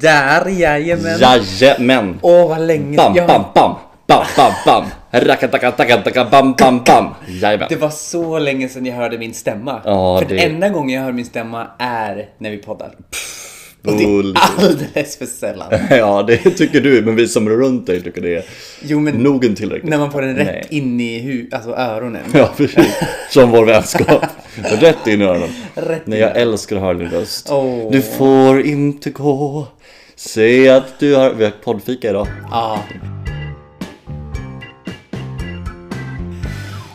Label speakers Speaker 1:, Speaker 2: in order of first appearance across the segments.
Speaker 1: Där, jajamän.
Speaker 2: Jajamän!
Speaker 1: Åh, vad länge
Speaker 2: Bam,
Speaker 1: jag-
Speaker 2: bam, bam! Bam, bam, bam! Rackatakatakatakam, bam, bam, bam! Jajamän!
Speaker 1: Det var så länge sedan jag hörde min stämma.
Speaker 2: Ja,
Speaker 1: För
Speaker 2: det-
Speaker 1: den enda gången jag hör min stämma är när vi poddar. Och det är
Speaker 2: Bullshit.
Speaker 1: alldeles för sällan.
Speaker 2: Ja, det tycker du, men vi som är runt dig tycker det är
Speaker 1: Jo, men
Speaker 2: nog en tillräckligt.
Speaker 1: när man får den rätt
Speaker 2: Nej.
Speaker 1: in i hu- alltså öronen.
Speaker 2: Ja, precis. Som vår vänskap. Rätt in i öronen.
Speaker 1: Rätt
Speaker 2: Nej,
Speaker 1: in.
Speaker 2: jag älskar att höra din röst.
Speaker 1: Åh.
Speaker 2: Du får inte gå. Säg att du har... Vi har poddfika idag.
Speaker 1: Ja.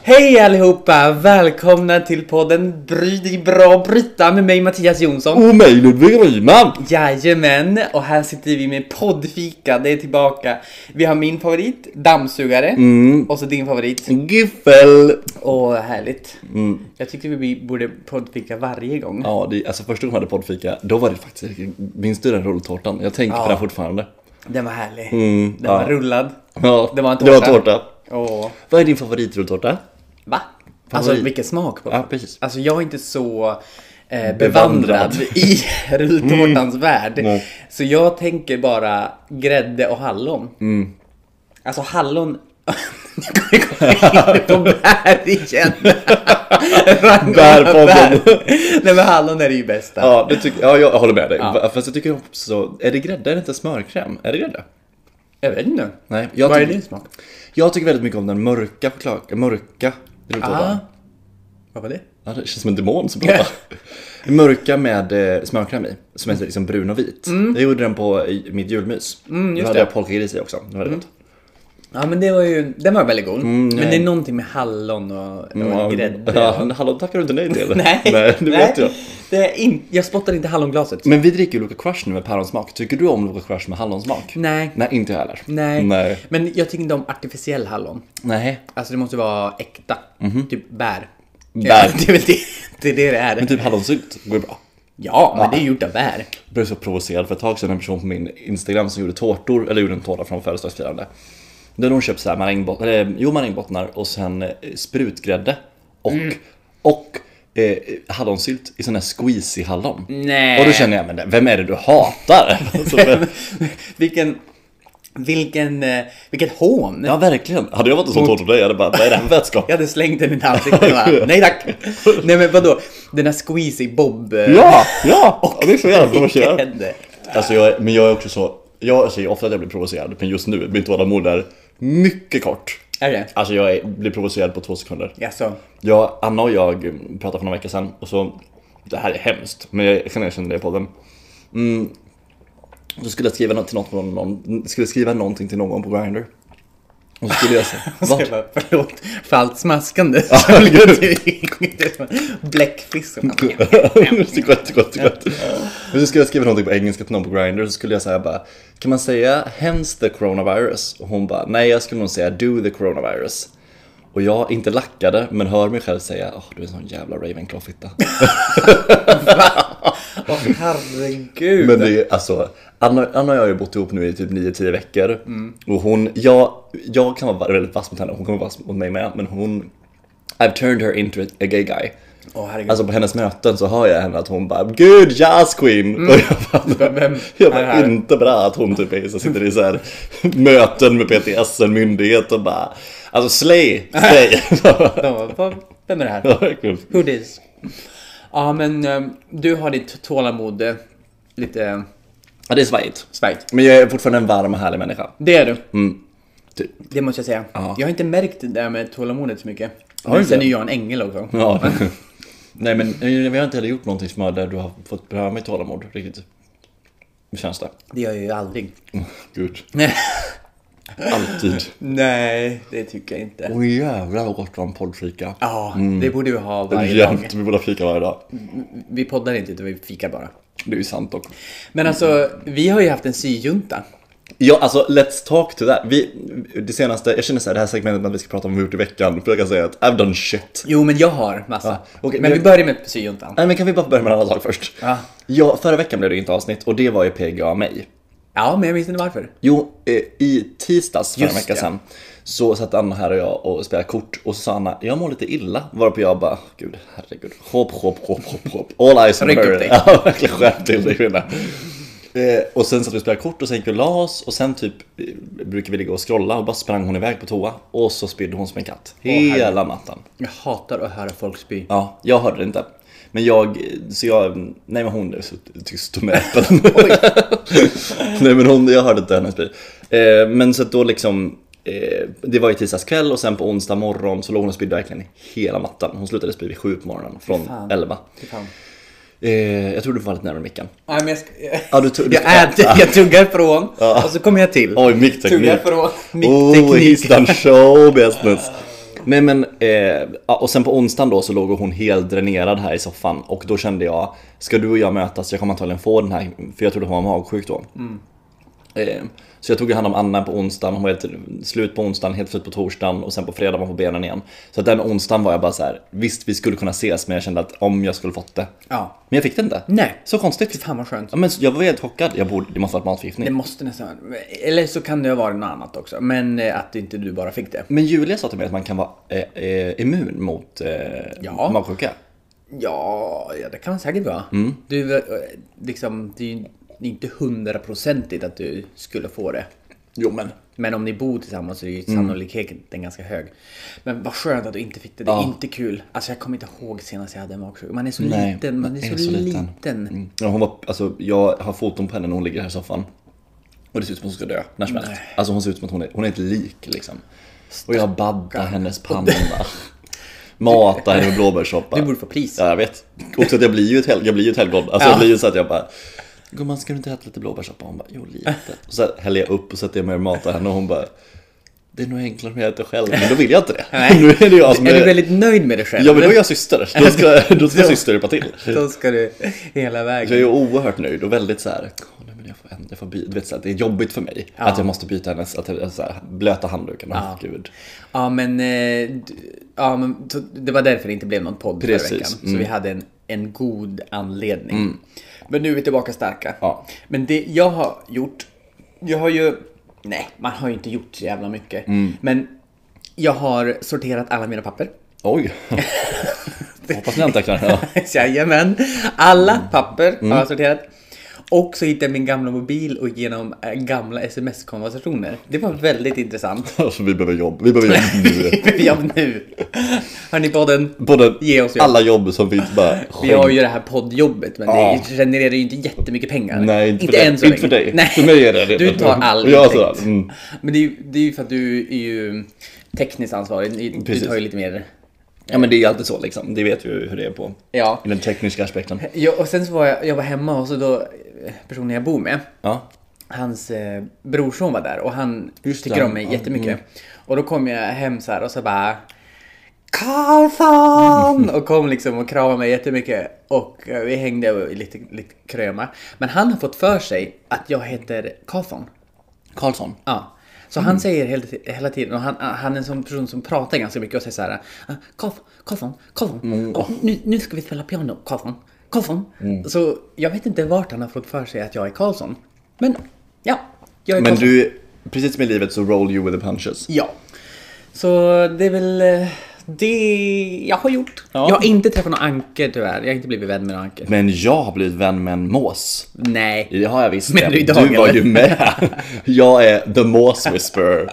Speaker 1: Hej allihopa! Välkomna till podden Bry dig bra och bryta med mig Mattias Jonsson.
Speaker 2: Och mig Ludvig Ryman!
Speaker 1: Jajamän, och här sitter vi med poddfika, det är tillbaka. Vi har min favorit, dammsugare,
Speaker 2: Mm.
Speaker 1: och så din favorit.
Speaker 2: Giffel!
Speaker 1: Åh, härligt. Jag tyckte vi borde poddfika varje gång.
Speaker 2: Mm. Ja, det, alltså första gången jag hade poddfika, då var det faktiskt... Minns du den rulltårtan? Jag tänker på den fortfarande.
Speaker 1: Den var härlig.
Speaker 2: Mm,
Speaker 1: Den var
Speaker 2: ja.
Speaker 1: rullad.
Speaker 2: Ja,
Speaker 1: Det var en
Speaker 2: Det var
Speaker 1: tårta.
Speaker 2: tårta.
Speaker 1: Åh.
Speaker 2: Vad är din favoritrulltårta?
Speaker 1: Va? Alltså
Speaker 2: Favorit.
Speaker 1: vilken smak på
Speaker 2: Ja, precis.
Speaker 1: Alltså jag är inte så eh,
Speaker 2: Bevandrad. Mm.
Speaker 1: bevandrad i rulltårtans värld.
Speaker 2: Nej.
Speaker 1: Så jag tänker bara grädde och hallon.
Speaker 2: Mm.
Speaker 1: Alltså hallon... Nu kommer jag in på bär igen.
Speaker 2: Bärpodden.
Speaker 1: Nej men hallon är det ju bästa.
Speaker 2: Ja, det tycker, ja jag håller med dig. Fast jag tycker också... Är det grädde? Är det inte smörkräm? Är det grädde?
Speaker 1: Jag vet inte.
Speaker 2: Nej, jag
Speaker 1: Vad är
Speaker 2: tycker-
Speaker 1: din smak?
Speaker 2: Jag tycker väldigt mycket om den mörka choklad... Mörka
Speaker 1: Ah.
Speaker 2: rulltårtan.
Speaker 1: Vad var det?
Speaker 2: Ja, det känns som en demon som pratar. Den mörka med eh, smörkräm i, som är liksom brun och vit. Jag gjorde den på i, mitt julmys. Mm,
Speaker 1: Mm. just
Speaker 2: hade
Speaker 1: det. Mm.
Speaker 2: jag polkagris i också. Det var väldigt gott.
Speaker 1: Ja men det var ju, den var väldigt god. men det är någonting med hallon och, och
Speaker 2: Mm, Ja,
Speaker 1: Mm, grädde.
Speaker 2: Ja, hallon tackar du inte nej till.
Speaker 1: Nej,
Speaker 2: nej det vet jag.
Speaker 1: Det är in, jag spottar inte hallonglaset.
Speaker 2: Men vi dricker ju Loka Crush nu med päronsmak. Tycker du om Loka Crush med hallonsmak?
Speaker 1: Nej.
Speaker 2: Nej, inte jag heller.
Speaker 1: Nej.
Speaker 2: Nej.
Speaker 1: Men jag tycker inte om artificiell hallon.
Speaker 2: Nej.
Speaker 1: Alltså det måste vara äkta. Typ bär.
Speaker 2: Mhm. Bär.
Speaker 1: det är väl det det, är det, det är.
Speaker 2: Men typ hallonsylt går ju bra.
Speaker 1: Ja, men det är gjort av bär.
Speaker 2: Jag blev så provocerad för ett tag sedan en person på min Instagram som gjorde tårtor, eller gjorde en tårta från födelsedagsfirande. Då hade hon köpt så här marängbottnar, eller, jo marängbottnar och sen eh, sprutgrädde och,
Speaker 1: Mm.
Speaker 2: och eh, hallonsylt i sån här squeezy hallon.
Speaker 1: Nej.
Speaker 2: Och då känner jag, men det- vem är det du hatar? Alltså, men-
Speaker 1: vilken, vilken, eh, vilket hån.
Speaker 2: ja verkligen, hade jag varit en sån tårta på dig jag hade bara, vad är det här för vetskap?
Speaker 1: Jag hade slängt den i ditt ansikte va? Nej tack! Nej men vadå? Den här squeezy bob... eh,
Speaker 2: Ja, ja! Och det är så jävla provocerande.
Speaker 1: grädde.
Speaker 2: Alltså jag, men jag är också så, jag säger ofta att jag blir provocerad, men just nu, mitt tålamod är mycket kort.
Speaker 1: Är det?
Speaker 2: Alltså jag är, blir provocerad på två sekunder.
Speaker 1: Alltså,
Speaker 2: Jag, Anna och jag mm, pratade för några veckor sedan och så, det här är hemskt, men jag kan erkänna det i podden. Mm, så skulle jag skriva, något till något, någon, någon, skulle jag skriva någonting till någon på Grindr. Och så skulle jag säga,
Speaker 1: Så
Speaker 2: "Va?"
Speaker 1: jag bara, förlåt för allt smaskande. som ligger i- Bläckfiskarna.
Speaker 2: Så gott, gott, gott. Men så skulle jag skriva någonting på engelska till någon på Grindr så skulle jag säga bara Kan man säga hens the coronavirus? Och hon bara nej jag skulle nog säga do the coronavirus Och jag, inte lackade, men hör mig själv säga Åh du är en sån jävla Ravenclaw-fitta
Speaker 1: Åh herregud.
Speaker 2: Men det är alltså Anna, Anna och jag har ju bott ihop nu i typ 9-10 veckor Och hon, jag, jag kan vara väldigt vass mot henne, hon kommer vara vass mot mig med Men hon I've turned her into a gay guy
Speaker 1: Åh herregud.
Speaker 2: Alltså på hennes möten så hör jag henne att hon bara Gud jazz queen! Och jag bara,
Speaker 1: vem
Speaker 2: jag
Speaker 1: är det
Speaker 2: bara
Speaker 1: här?
Speaker 2: inte bra att hon typ är, så sitter i så här möten med PTS, en myndighet och bara Alltså slay, slay!
Speaker 1: De bara, "Vad- Vem är det här?
Speaker 2: Ja, kul.
Speaker 1: Who this? Ja men eh, du har ditt tålamod eh, lite
Speaker 2: ja det är svajigt.
Speaker 1: svajigt.
Speaker 2: Men jag är fortfarande en varm och härlig människa.
Speaker 1: Det är du.
Speaker 2: Typ.
Speaker 1: Det måste jag säga.
Speaker 2: Ja.
Speaker 1: Jag har inte märkt det där med tålamodet så mycket.
Speaker 2: du
Speaker 1: Men sen
Speaker 2: det?
Speaker 1: är jag en ängel också.
Speaker 2: Ja. Nej men eh, vi har inte heller gjort någonting som har där du har fått pröva mitt tålamod riktigt. Hur känns det?
Speaker 1: Det gör jag ju aldrig.
Speaker 2: Gud.
Speaker 1: Nej.
Speaker 2: Alltid.
Speaker 1: Nej, det tycker jag inte.
Speaker 2: Åh jävlar vad gott det var en poddfika.
Speaker 1: Ja,
Speaker 2: Mm.
Speaker 1: det borde vi ha varje dag.
Speaker 2: Jämt, vi borde ha fika varje dag.
Speaker 1: Vi poddar inte utan vi fikar bara.
Speaker 2: Det är ju sant dock.
Speaker 1: Men alltså, vi har ju haft en syjunta.
Speaker 2: Ja, alltså let's talk to that. Vi, det senaste, jag känner så här, det här segmentet med att vi ska prata om vad vi gjort i veckan, för jag kan säga att I've done shit.
Speaker 1: Jo, men jag har massa.
Speaker 2: Ja, okej,
Speaker 1: men
Speaker 2: men-
Speaker 1: vi börjar med syjuntan.
Speaker 2: Nej men kan vi bara börja med en annan sak först?
Speaker 1: Ja.
Speaker 2: ja, förra veckan blev det inte avsnitt och det var ju PGA mig.
Speaker 1: Ja, men jag minns inte varför.
Speaker 2: Jo, eh, i tisdags för en
Speaker 1: Just
Speaker 2: vecka
Speaker 1: det.
Speaker 2: sedan så satt Anna här och jag och spelade kort och så sa Anna, jag mår lite illa. Varpå jag bara, gud herregud, hopp, hopp, hopp, hopp, hopp. All eyes on
Speaker 1: Ryck upp
Speaker 2: her.
Speaker 1: dig.
Speaker 2: Ja, verkligen skärp till dig kvinna. Eh, och sen satt vi och spelade kort och sen gick vi och la oss och sen typ eh, brukade vi ligga och scrolla och bara sprang hon iväg på toa och så spydde hon som en katt. Hela natten.
Speaker 1: Jag hatar att höra folk spy.
Speaker 2: Ja, jag hörde det inte. Men jag, så jag, nej men hon är så tyst och näpen. nej men hon, jag hörde inte henne spy. Eh, men så att då liksom, eh, det var ju tisdagskväll och sen på onsdag morgon så låg hon och spydde verkligen hela mattan. Hon slutade spy vid sju på morgonen
Speaker 1: fan.
Speaker 2: från elva.
Speaker 1: Fy fan.
Speaker 2: Eh, jag tror du var lite närmare micken.
Speaker 1: Nej, men jag, sk-
Speaker 2: Ja, du tog- du-
Speaker 1: jag, äter, jag tuggar från och så kommer jag till.
Speaker 2: Oj, mickteknik.
Speaker 1: Tuggar från.
Speaker 2: Oh,
Speaker 1: Mickteknik.
Speaker 2: he's done show business. Nej men, eh, ja, och sen på onsdagen då så låg hon helt dränerad här i soffan och då kände jag, ska du och jag mötas? Jag kommer antagligen få den här, för jag trodde hon var magsjuk då.
Speaker 1: Mm.
Speaker 2: Eh, så jag tog ju hand om Anna på onsdagen, hon var helt slut på onsdagen, helt slut på torsdagen och sen på fredag var hon på benen igen. Så att den onsdagen var jag bara så här, visst vi skulle kunna ses men jag kände att om jag skulle fått det.
Speaker 1: Ja.
Speaker 2: Men jag fick det inte.
Speaker 1: Nej.
Speaker 2: Så konstigt.
Speaker 1: Fan vad skönt.
Speaker 2: Ja, men jag var helt chockad, jag borde, det måste ha varit matförgiftning.
Speaker 1: Det måste nästan Eller så kan det ha varit något annat också. Men eh, att inte du bara fick det.
Speaker 2: Men Julia sa till mig att man kan vara eh, eh, immun mot eh,
Speaker 1: Ja.
Speaker 2: magsjuka.
Speaker 1: Ja, ja det kan man säkert vara.
Speaker 2: Mm.
Speaker 1: Du, eh, liksom, det är ju inte hundraprocentigt att du skulle få det.
Speaker 2: Jo men.
Speaker 1: Men om ni bor tillsammans så är ju sannolikheten ganska hög. Men vad skönt att du inte fick det. Det är inte kul. Alltså jag kommer inte ihåg senast jag hade en magsjuka. Man är så
Speaker 2: Nej,
Speaker 1: liten. Man är, så, liten.
Speaker 2: Mm. Ja, Hon var, alltså, jag har foton på henne när hon ligger här i soffan. Och det ser ut som hon ska dö när som helst. Alltså hon ser ut som att hon är, hon är ett lik liksom. Och jag baddar hennes panna. Matar henne med blåbärssoppa.
Speaker 1: Du borde få pris.
Speaker 2: Ja, jag vet. Också att jag blir ju ett, hel, jag blir ju ett helgon. Alltså jag blir ju så att jag bara Gumman ska du inte äta lite blåbärssoppa? Hon bara jo lite. Och så häller jag upp och sätter jag mig och matar henne och hon bara Det är nog enklare om jag äter själv. Men då vill jag inte det.
Speaker 1: Nej.
Speaker 2: Nu är det jag som
Speaker 1: Är du
Speaker 2: är...
Speaker 1: väldigt nöjd med dig själv?
Speaker 2: Mm. Ja men då är jag syster. Då ska, då ska syster hjälpa till.
Speaker 1: Då ska du hela
Speaker 2: Jag är
Speaker 1: vägen.
Speaker 2: ju oerhört nöjd och väldigt så här, "Åh, nej, men jag får, ändra- jag får byta, du vet så här, det är jobbigt för mig att jag måste byta hennes, att jag, så här, blöta handduken, ja. gud.
Speaker 1: Ja men, eh, du- ja, men så det var därför det inte blev någon podd
Speaker 2: Precis, Mm.
Speaker 1: förra veckan. Så vi hade en, en god anledning. Men nu är vi tillbaka starka.
Speaker 2: Ja.
Speaker 1: Men det jag har gjort, jag har ju, nej man har ju inte gjort så jävla mycket.
Speaker 2: Mm.
Speaker 1: Men jag har sorterat alla mina papper.
Speaker 2: Oj, hoppas ni antecknar. Ja.
Speaker 1: Jajamän. Alla
Speaker 2: Mm.
Speaker 1: papper har jag sorterat. Och så hittade jag min gamla mobil och genom eh, gamla sms-konversationer. Det var väldigt intressant.
Speaker 2: Alltså, vi behöver jobb, vi behöver jobb nu.
Speaker 1: Vi har nu. Hör ni podden?
Speaker 2: Både
Speaker 1: Ge oss jobb.
Speaker 2: alla jobb som finns bara
Speaker 1: Vi har ju det här poddjobbet men
Speaker 2: Ja.
Speaker 1: det genererar ju inte jättemycket pengar.
Speaker 2: Nej, inte för dig.
Speaker 1: än så
Speaker 2: Inte
Speaker 1: länge.
Speaker 2: för dig.
Speaker 1: Nej.
Speaker 2: För mig är det det.
Speaker 1: Du tar all
Speaker 2: Och jag tar
Speaker 1: intäkt.
Speaker 2: all, mm.
Speaker 1: Men det är, ju, det är ju för att du är ju tekniskt ansvarig. Du
Speaker 2: Precis.
Speaker 1: tar ju lite mer...
Speaker 2: Ja men det är ju alltid så liksom, det vet vi ju hur det är på.
Speaker 1: Ja.
Speaker 2: I den tekniska aspekten.
Speaker 1: ja. Och sen så var jag, jag var hemma och så då eh, personen jag bor med
Speaker 2: Ja.
Speaker 1: hans eh, brorson var där och han tycker
Speaker 2: det.
Speaker 1: om mig
Speaker 2: Ja, mm.
Speaker 1: jättemycket. Och då kom jag hem så här och så bara
Speaker 2: Mm.
Speaker 1: Karlsson! Och kom liksom och kramade mig jättemycket. Och eh, vi hängde och lite, lite kröma. Men han har fått för sig att jag heter Karlsson.
Speaker 2: Karlsson.
Speaker 1: Ja. Så
Speaker 2: Mm.
Speaker 1: han säger hela, hela tiden, och han, han är en sån person som pratar ganska mycket och säger så här "Ah, Karlsson, Karlsson, Karlsson,
Speaker 2: Mm.
Speaker 1: Åh, nu, nu ska vi spela piano, Karlsson, Karlsson. Så jag vet inte vart han har fått för sig att jag är Karlsson. Men ja, jag är
Speaker 2: Men
Speaker 1: Karlsson.
Speaker 2: du, precis som i livet så roll you with the punches.
Speaker 1: Ja. Så det är väl eh, det jag har gjort.
Speaker 2: Ja.
Speaker 1: Jag har inte träffat någon Anke tyvärr, jag har inte blivit vän med någon Anke.
Speaker 2: Men jag har blivit vän med en mås.
Speaker 1: Nej.
Speaker 2: Det har jag visst.
Speaker 1: Men du är idag,
Speaker 2: var
Speaker 1: eller?
Speaker 2: ju med. Jag är the moss whisperer.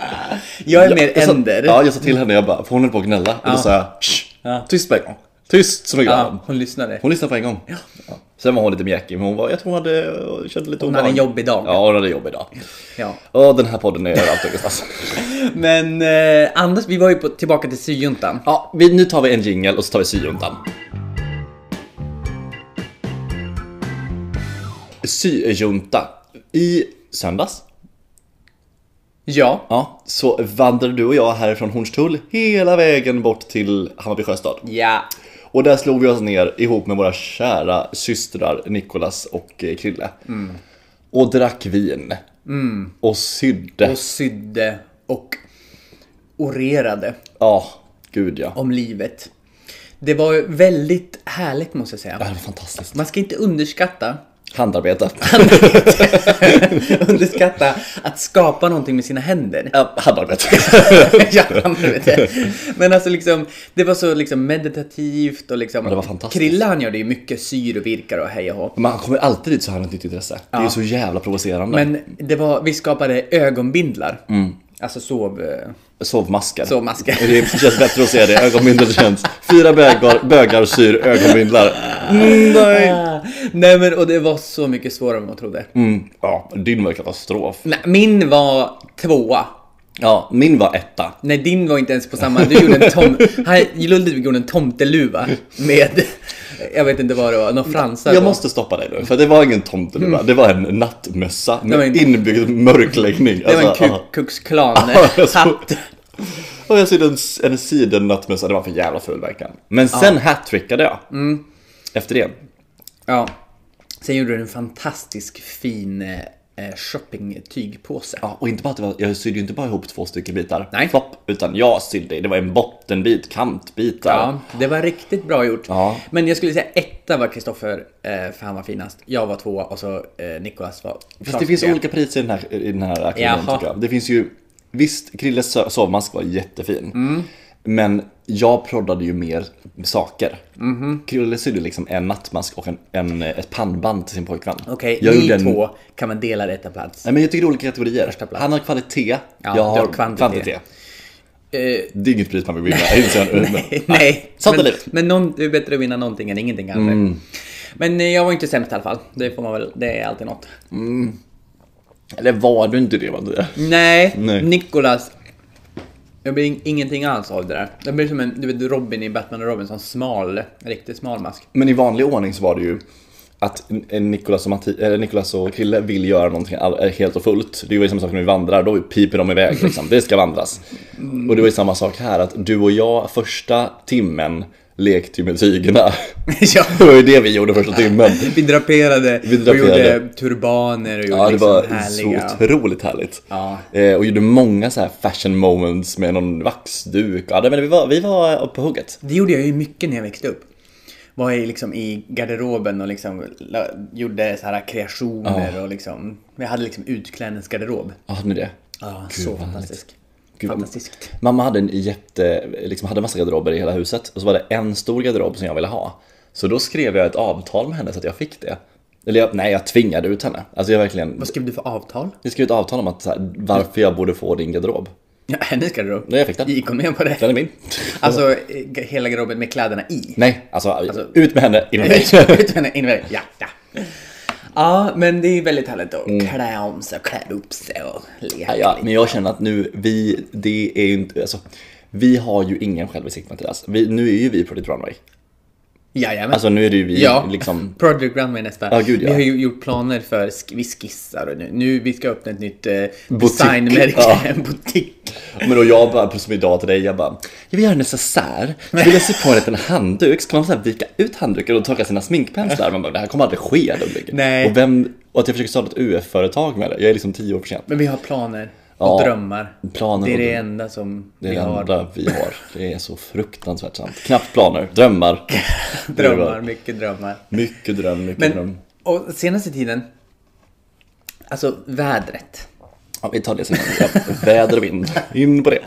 Speaker 1: Jag är mer
Speaker 2: sa-
Speaker 1: änder.
Speaker 2: Ja, jag sa till henne, jag bara, för hon höll på att gnälla. Och då sa jag, "Shh, tyst på en gång. Tyst som en gran.
Speaker 1: Ja, hon lyssnade.
Speaker 2: Hon lyssnade på en gång. Ja. Sen var hon lite mjäkig, men hon var, jag tror hon hade, kände lite Hon
Speaker 1: hade en jobbig dag.
Speaker 2: Ja, hon hade en jobbig dag.
Speaker 1: Ja.
Speaker 2: Ja, den här podden är överallt Alltså. Augustas.
Speaker 1: Men eh, Anders, vi var ju på, tillbaka till syjuntan.
Speaker 2: Ja, vi, nu tar vi en jingel och så tar vi syjuntan. Syjunta. I söndags
Speaker 1: Ja.
Speaker 2: ja, så vandrade du och jag härifrån Hornstull hela vägen bort till Hammarby Sjöstad.
Speaker 1: Ja.
Speaker 2: Och där slog vi oss ner ihop med våra kära systrar Nikolas och eh, Krille. Och drack vin. Och sydde.
Speaker 1: Och sydde och orerade
Speaker 2: Ja, gud ja.
Speaker 1: om livet. Det var ju väldigt härligt måste jag
Speaker 2: Det
Speaker 1: säga.
Speaker 2: här var fantastiskt.
Speaker 1: Man ska inte underskatta
Speaker 2: Handarbete.
Speaker 1: Underskatta att skapa någonting med sina händer.
Speaker 2: Ja, handarbete.
Speaker 1: ja, han vet det. Men alltså liksom, det var så liksom meditativt och liksom...
Speaker 2: det var fantastiskt.
Speaker 1: Krille han gör det ju mycket syr och virkar och hej och hå.
Speaker 2: Man kommer alltid dit så har han ett nytt intresse. Det är ju så jävla provocerande.
Speaker 1: Men det var, vi skapade ögonbindlar.
Speaker 2: Mm.
Speaker 1: Alltså sov... eh,
Speaker 2: Sovmasker.
Speaker 1: Sovmasker.
Speaker 2: Det känns bättre att säga det. Ögonbindel känns. Fyra bögar, bögar syr ögonbindlar. Mm, nej.
Speaker 1: Ah, nej men och det var så mycket svårare än man trodde.
Speaker 2: Mm, ja, din var katastrof.
Speaker 1: Nej, min var tvåa.
Speaker 2: Ja, min var etta.
Speaker 1: Nej, din var inte ens på samma. Du gjorde en tom... Här, Ludvig gjorde en tomteluva med... Jag vet inte vad det var, någon fransar
Speaker 2: Jag
Speaker 1: på.
Speaker 2: måste stoppa dig nu, för det var ingen tomteluva. Det var en nattmössa med
Speaker 1: Mm. var en-
Speaker 2: inbyggd mörkläggning.
Speaker 1: Det var en
Speaker 2: Alltså,
Speaker 1: Ku
Speaker 2: ja.
Speaker 1: Klux Klan
Speaker 2: Ja, jag såg-
Speaker 1: hatt.
Speaker 2: Och jag sydde en, en sidennattmössa, det var för jävla ful verkligen. Men sen hattrickade jag.
Speaker 1: Mm.
Speaker 2: Efter det.
Speaker 1: Ja. Sen gjorde du en fantastisk fin eh, shoppingtygpåse.
Speaker 2: Ja, och inte bara att det var, jag sydde ju inte bara ihop två stycken bitar.
Speaker 1: Nej.
Speaker 2: Flopp, utan jag sydde, det var en bottenbit, kantbitar.
Speaker 1: Ja, det var riktigt bra gjort.
Speaker 2: Ja.
Speaker 1: Men jag skulle säga etta var Kristoffer, eh, för han var finast. Jag var tvåa och så eh, Nikolas var
Speaker 2: Fast det finns olika priser i den här, i den här aktionen
Speaker 1: Jaha.
Speaker 2: tycker jag. Det finns ju, visst Krilles so- sovmask var jättefin.
Speaker 1: Mm.
Speaker 2: Men jag proddade ju mer saker.
Speaker 1: Mhm.
Speaker 2: Krille sydde liksom en nattmask och en, en, ett pannband till sin pojkvän.
Speaker 1: Okej,
Speaker 2: jag
Speaker 1: ni
Speaker 2: gjorde en-
Speaker 1: två kan man dela etta plats.
Speaker 2: Nej men jag tycker det är olika kategorier.
Speaker 1: plats.
Speaker 2: Han har kvalitet,
Speaker 1: Ja,
Speaker 2: jag
Speaker 1: du
Speaker 2: har
Speaker 1: har kvantitet.
Speaker 2: kvantitet.
Speaker 1: Eh,
Speaker 2: Det är inget pris man vill vinna, jag inser jag nu.
Speaker 1: Nej, nej.
Speaker 2: sånt är
Speaker 1: men,
Speaker 2: livet.
Speaker 1: men någon, det är bättre att vinna någonting än ingenting kanske.
Speaker 2: Mm.
Speaker 1: Men eh, jag var inte sämst i alla fall. Det får man väl, det är alltid något.
Speaker 2: Eller var du inte det Maria?
Speaker 1: Nej,
Speaker 2: Nej.
Speaker 1: Nikolas. Jag blir in- ingenting alls av det där. Jag blir som en, du vet Robin i Batman och Robin, sån smal, riktigt smal mask.
Speaker 2: Men i vanlig ordning så var det ju att Nikolas och, Matti, eh, Nicolas och Krille vill göra någonting all, eh, helt och fullt. Det är ju samma sak när vi vandrar, då piper de iväg liksom. Det ska vandras.
Speaker 1: Mm.
Speaker 2: Och det var ju samma sak här, att du och jag första timmen lekte ju med tygerna.
Speaker 1: ja.
Speaker 2: Det var ju det vi gjorde första timmen.
Speaker 1: Vi draperade, och
Speaker 2: draperade.
Speaker 1: gjorde turbaner och gjorde
Speaker 2: Ja, det
Speaker 1: liksom
Speaker 2: var
Speaker 1: härliga...
Speaker 2: så otroligt härligt.
Speaker 1: Ja.
Speaker 2: Eh, och gjorde många så här fashion moments med någon vaxduk. Ja, det- men vi var, vi var på hugget.
Speaker 1: Det gjorde jag ju mycket när jag växte upp. Var jag liksom i garderoben och liksom la, gjorde så här kreationer och liksom... Jag hade liksom utklädningsgarderob.
Speaker 2: Ja, hade ni det?
Speaker 1: Ja,
Speaker 2: Gud,
Speaker 1: så
Speaker 2: vad härligt.
Speaker 1: fantastisk.
Speaker 2: Gud, vad-
Speaker 1: Fantastiskt.
Speaker 2: Mamma hade en jätte, liksom hade massa garderober i hela huset och så var det en stor garderob som jag ville ha. Så då skrev jag ett avtal med henne så att jag fick det. Eller jag, nej, jag tvingade ut henne. Alltså jag verkligen,
Speaker 1: Vad skrev du för avtal?
Speaker 2: jag skrev ett avtal om att så här, varför jag borde få din garderob.
Speaker 1: Ja, hennes garderob?
Speaker 2: Nej, jag fick den.
Speaker 1: Gick hon med på det?
Speaker 2: Den är min.
Speaker 1: Alltså eh, g- hela garderoben med kläderna i?
Speaker 2: Nej, alltså, ut med henne inom mig.
Speaker 1: Ut med henne, in med- ja, ja. Ja, men det är väldigt härligt att klä om sig och klä upp sig och leka
Speaker 2: Mm. Ja,
Speaker 1: lite.
Speaker 2: men jag känner att nu, vi, det är ju inte, alltså, vi har ju ingen självinsikt Mattias. Vi, nu är ju vi Project Runway.
Speaker 1: Jajamän.
Speaker 2: Alltså nu är det ju vi
Speaker 1: Ja,
Speaker 2: liksom,
Speaker 1: Project Runway nästa.
Speaker 2: Ja, gud, ja.
Speaker 1: Vi har ju gjort planer för, sk- vi skissar och nu, nu vi ska öppna ett nytt eh,
Speaker 2: Butik.
Speaker 1: designmärke,
Speaker 2: Ja.
Speaker 1: en butik.
Speaker 2: Men då jag bara, som idag till dig, jag bara Jag vill göra en necessär, så vill jag sy på en liten handduk, så kan man så här vika ut handduken och torka sina sminkpenslar Man bara, det här kommer aldrig ske Ludvig
Speaker 1: Nej.
Speaker 2: och, vem, och att jag försöker starta ett UF-företag med det, jag är liksom tio år för sent
Speaker 1: Men vi har planer och
Speaker 2: Ja,
Speaker 1: drömmar.
Speaker 2: planer
Speaker 1: det är
Speaker 2: och
Speaker 1: det
Speaker 2: drömmar.
Speaker 1: enda som
Speaker 2: Det är
Speaker 1: vi
Speaker 2: det
Speaker 1: har.
Speaker 2: enda vi har, det är så fruktansvärt sant Knappt planer, drömmar Det är
Speaker 1: Drömmar,
Speaker 2: bra.
Speaker 1: mycket drömmar.
Speaker 2: Mycket dröm, mycket
Speaker 1: Men,
Speaker 2: dröm
Speaker 1: och senaste tiden, alltså vädret.
Speaker 2: ja, Vi tar det sen, ja, väder och vind, in på det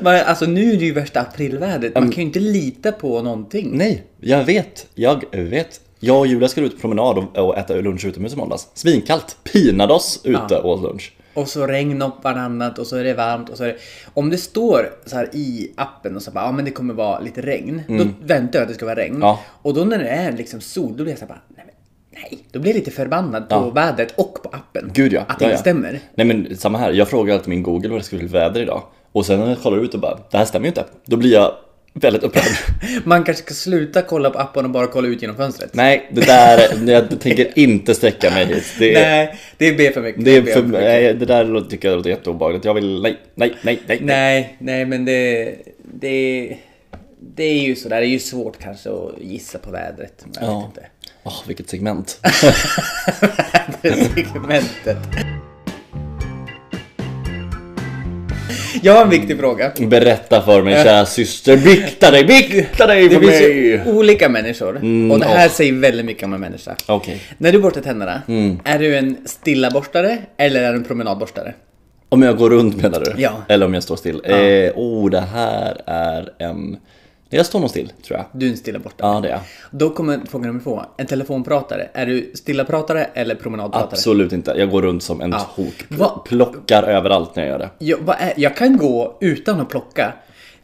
Speaker 1: Men, alltså nu är det ju värsta aprilvädret, man kan ju inte lita på någonting.
Speaker 2: Mm. Nej, jag vet, jag vet jag och Julia skulle ut på promenad och- och äta lunch utomhus i måndags. Svinkallt, pinade oss ute åt lunch.
Speaker 1: Och så regn upp varannat och så är det varmt och så är det... Om det står så här i appen och så bara, ja men det kommer vara lite regn. Då väntar jag att det ska vara regn.
Speaker 2: Mm. Ja.
Speaker 1: Och då när det är liksom sol, då blir jag så här bara, nej men nej. Då blir jag lite förbannad på vädret och på appen.
Speaker 2: Gud ja.
Speaker 1: Att det
Speaker 2: ja,
Speaker 1: inte
Speaker 2: ja.
Speaker 1: stämmer.
Speaker 2: Nej men samma här, jag frågar alltid min Google vad det skulle bli för väder idag. Och sen när jag kollar ut och bara, det här stämmer ju inte. Då blir jag väldigt upprörd.
Speaker 1: Man kanske ska sluta kolla på appen och bara kolla ut genom fönstret.
Speaker 2: Nej, det där, jag tänker inte sträcka mig hit. Det är,
Speaker 1: Nej, det är B för mycket.
Speaker 2: det, är
Speaker 1: B
Speaker 2: för, nej, det där låter- tycker jag låter jätteobehagligt. Jag vill, nej, nej, nej, nej.
Speaker 1: Nej, nej men det... Det, det är ju sådär, det är ju svårt kanske att gissa på vädret. men Jag
Speaker 2: Ja.
Speaker 1: vet inte.
Speaker 2: Åh, vilket segment.
Speaker 1: segmentet. Jag har en viktig fråga.
Speaker 2: Berätta för mig kära syster, bikta dig, bikta dig
Speaker 1: Det
Speaker 2: för
Speaker 1: finns
Speaker 2: mig!
Speaker 1: ju olika människor
Speaker 2: Mm,
Speaker 1: och det här säger väldigt mycket om en människa.
Speaker 2: Okej.
Speaker 1: När du borstar tänderna,
Speaker 2: Mm.
Speaker 1: är du en stillaborstare eller är du en promenadborstare?
Speaker 2: Om jag går runt menar du?
Speaker 1: Ja.
Speaker 2: Eller om jag står still? Eh, oh, det här är en... Jag står nog still, tror jag.
Speaker 1: Du är en stillaborstare.
Speaker 2: Ja, det är jag.
Speaker 1: Då kommer fråga nummer två. En telefonpratare, är du stillapratare eller promenadpratare?
Speaker 2: Absolut inte. Jag går runt som en tok.
Speaker 1: Va-
Speaker 2: Plockar överallt när jag gör det.
Speaker 1: Jag, vad är, jag kan gå utan att plocka.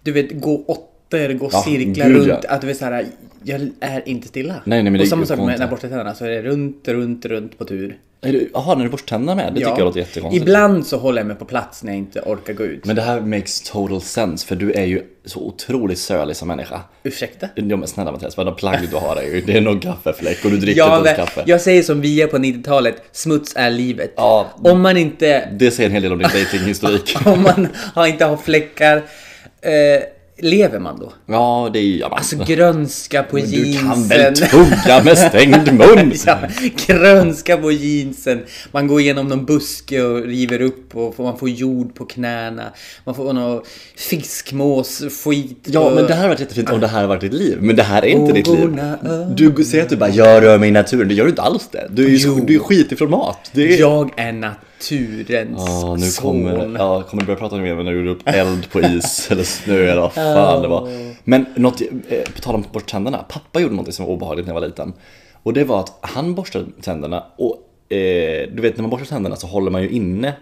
Speaker 1: Du vet, gå åttor, gå cirklar
Speaker 2: gud,
Speaker 1: runt.
Speaker 2: ja.
Speaker 1: Att du vet såhär, jag är inte stilla.
Speaker 2: nej, men
Speaker 1: och
Speaker 2: det
Speaker 1: samma
Speaker 2: går
Speaker 1: sak med
Speaker 2: inte.
Speaker 1: när jag borstar tänderna, så är det runt, runt, runt på tur.
Speaker 2: Är du- Jaha, när du borstar tänderna med? Det tycker jag låter jättekonstigt.
Speaker 1: Ibland så håller jag mig på plats när jag inte orkar gå ut.
Speaker 2: Men det här makes total sense, för du är ju så otroligt sölig som människa.
Speaker 1: Ursäkta?
Speaker 2: Ja men snälla Mattias, vad plagg du har är ju. Det är någon kaffefläck och du dricker
Speaker 1: Ja,
Speaker 2: inte
Speaker 1: men,
Speaker 2: ens kaffe.
Speaker 1: jag säger som vi är på 90-talet, smuts är livet.
Speaker 2: Ja.
Speaker 1: Om man inte,
Speaker 2: Det säger en hel del om din datinghistorik.
Speaker 1: om man har, inte har fläckar, eh, lever man då?
Speaker 2: Ja, det är ju... Ja, men,
Speaker 1: Alltså grönska på
Speaker 2: du
Speaker 1: jeansen.
Speaker 2: kan väl tugga med stängd mun?
Speaker 1: Ja, grönska på jeansen. Man går igenom någon buske och river upp och får, man får jord på knäna. Man får någon fiskmåsskit.
Speaker 2: Ja,
Speaker 1: och-
Speaker 2: men det här har varit jättefint om det här har varit ditt liv. Men det här är inte ditt liv.
Speaker 1: Ågorna, ö.
Speaker 2: Du säger att du bara jag rör mig i naturen. Det gör du inte alls det. Du är ju så, du är skit i format. Det är...
Speaker 1: Jag är naturens
Speaker 2: Ja, nu
Speaker 1: son.
Speaker 2: kommer, ja, kommer du börja prata om det när du gjorde upp eld på is eller snö eller vad fan det var. Men något, eh, på tal om att borsta tänderna. Pappa gjorde något som var obehagligt när jag var liten. Och det var att han borstade tänderna och eh, du vet när man borstar tänderna så håller man ju inne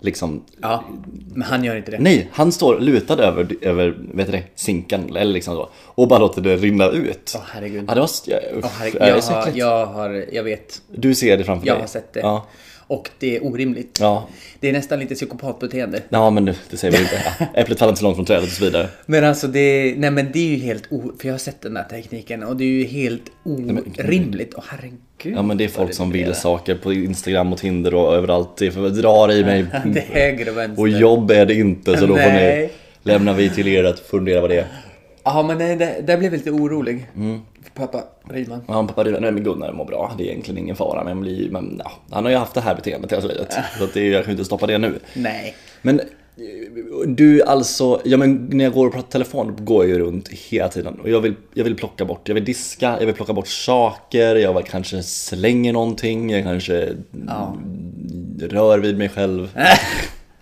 Speaker 2: liksom
Speaker 1: Ja, men han gör inte det.
Speaker 2: Nej, han står lutad över, över vet du det, sinken eller liksom så och bara låter det rinna ut.
Speaker 1: Åh, herregud.
Speaker 2: Ja, det var, s- ja, uff,
Speaker 1: Åh, herregud,
Speaker 2: ja, det är
Speaker 1: jag,
Speaker 2: så
Speaker 1: har,
Speaker 2: äckligt.
Speaker 1: jag, har, jag vet,
Speaker 2: Du ser det framför dig?
Speaker 1: jag har sett det.
Speaker 2: Ja,
Speaker 1: Och det är orimligt.
Speaker 2: ja.
Speaker 1: Det är nästan lite psykopatbeteende.
Speaker 2: ja men det, det säger vi inte. Ja, Äpplet faller inte så långt från trädet och så vidare.
Speaker 1: Men alltså det, nej men det är ju helt o, för jag har sett den där tekniken och det är ju helt orimligt. Åh herregud.
Speaker 2: Ja men det är folk
Speaker 1: vad
Speaker 2: som
Speaker 1: blir.
Speaker 2: vill saker på Instagram och Tinder och överallt. Det för- drar i mig.
Speaker 1: Det är höger och vänster.
Speaker 2: Och jobb är det inte så då får ni,
Speaker 1: Nej.
Speaker 2: lämnar vi till er att fundera vad det är.
Speaker 1: Ja men nej, där, där blev jag lite orolig.
Speaker 2: Mm.
Speaker 1: För pappa Rydman.
Speaker 2: Ja, pappa Ruben, nej men Gunnar mår bra. Det är egentligen ingen fara. Men, blir, men ja, han har ju haft det här beteendet hela livet. Så att det, jag kan ju inte stoppa det nu.
Speaker 1: Nej.
Speaker 2: Men eh, du alltså, ja men när jag går och pratar telefon går jag ju runt hela tiden och jag vill, jag vill plocka bort, jag vill diska, jag vill plocka bort saker, jag vill kanske slänger någonting, jag kanske rör vid mig själv.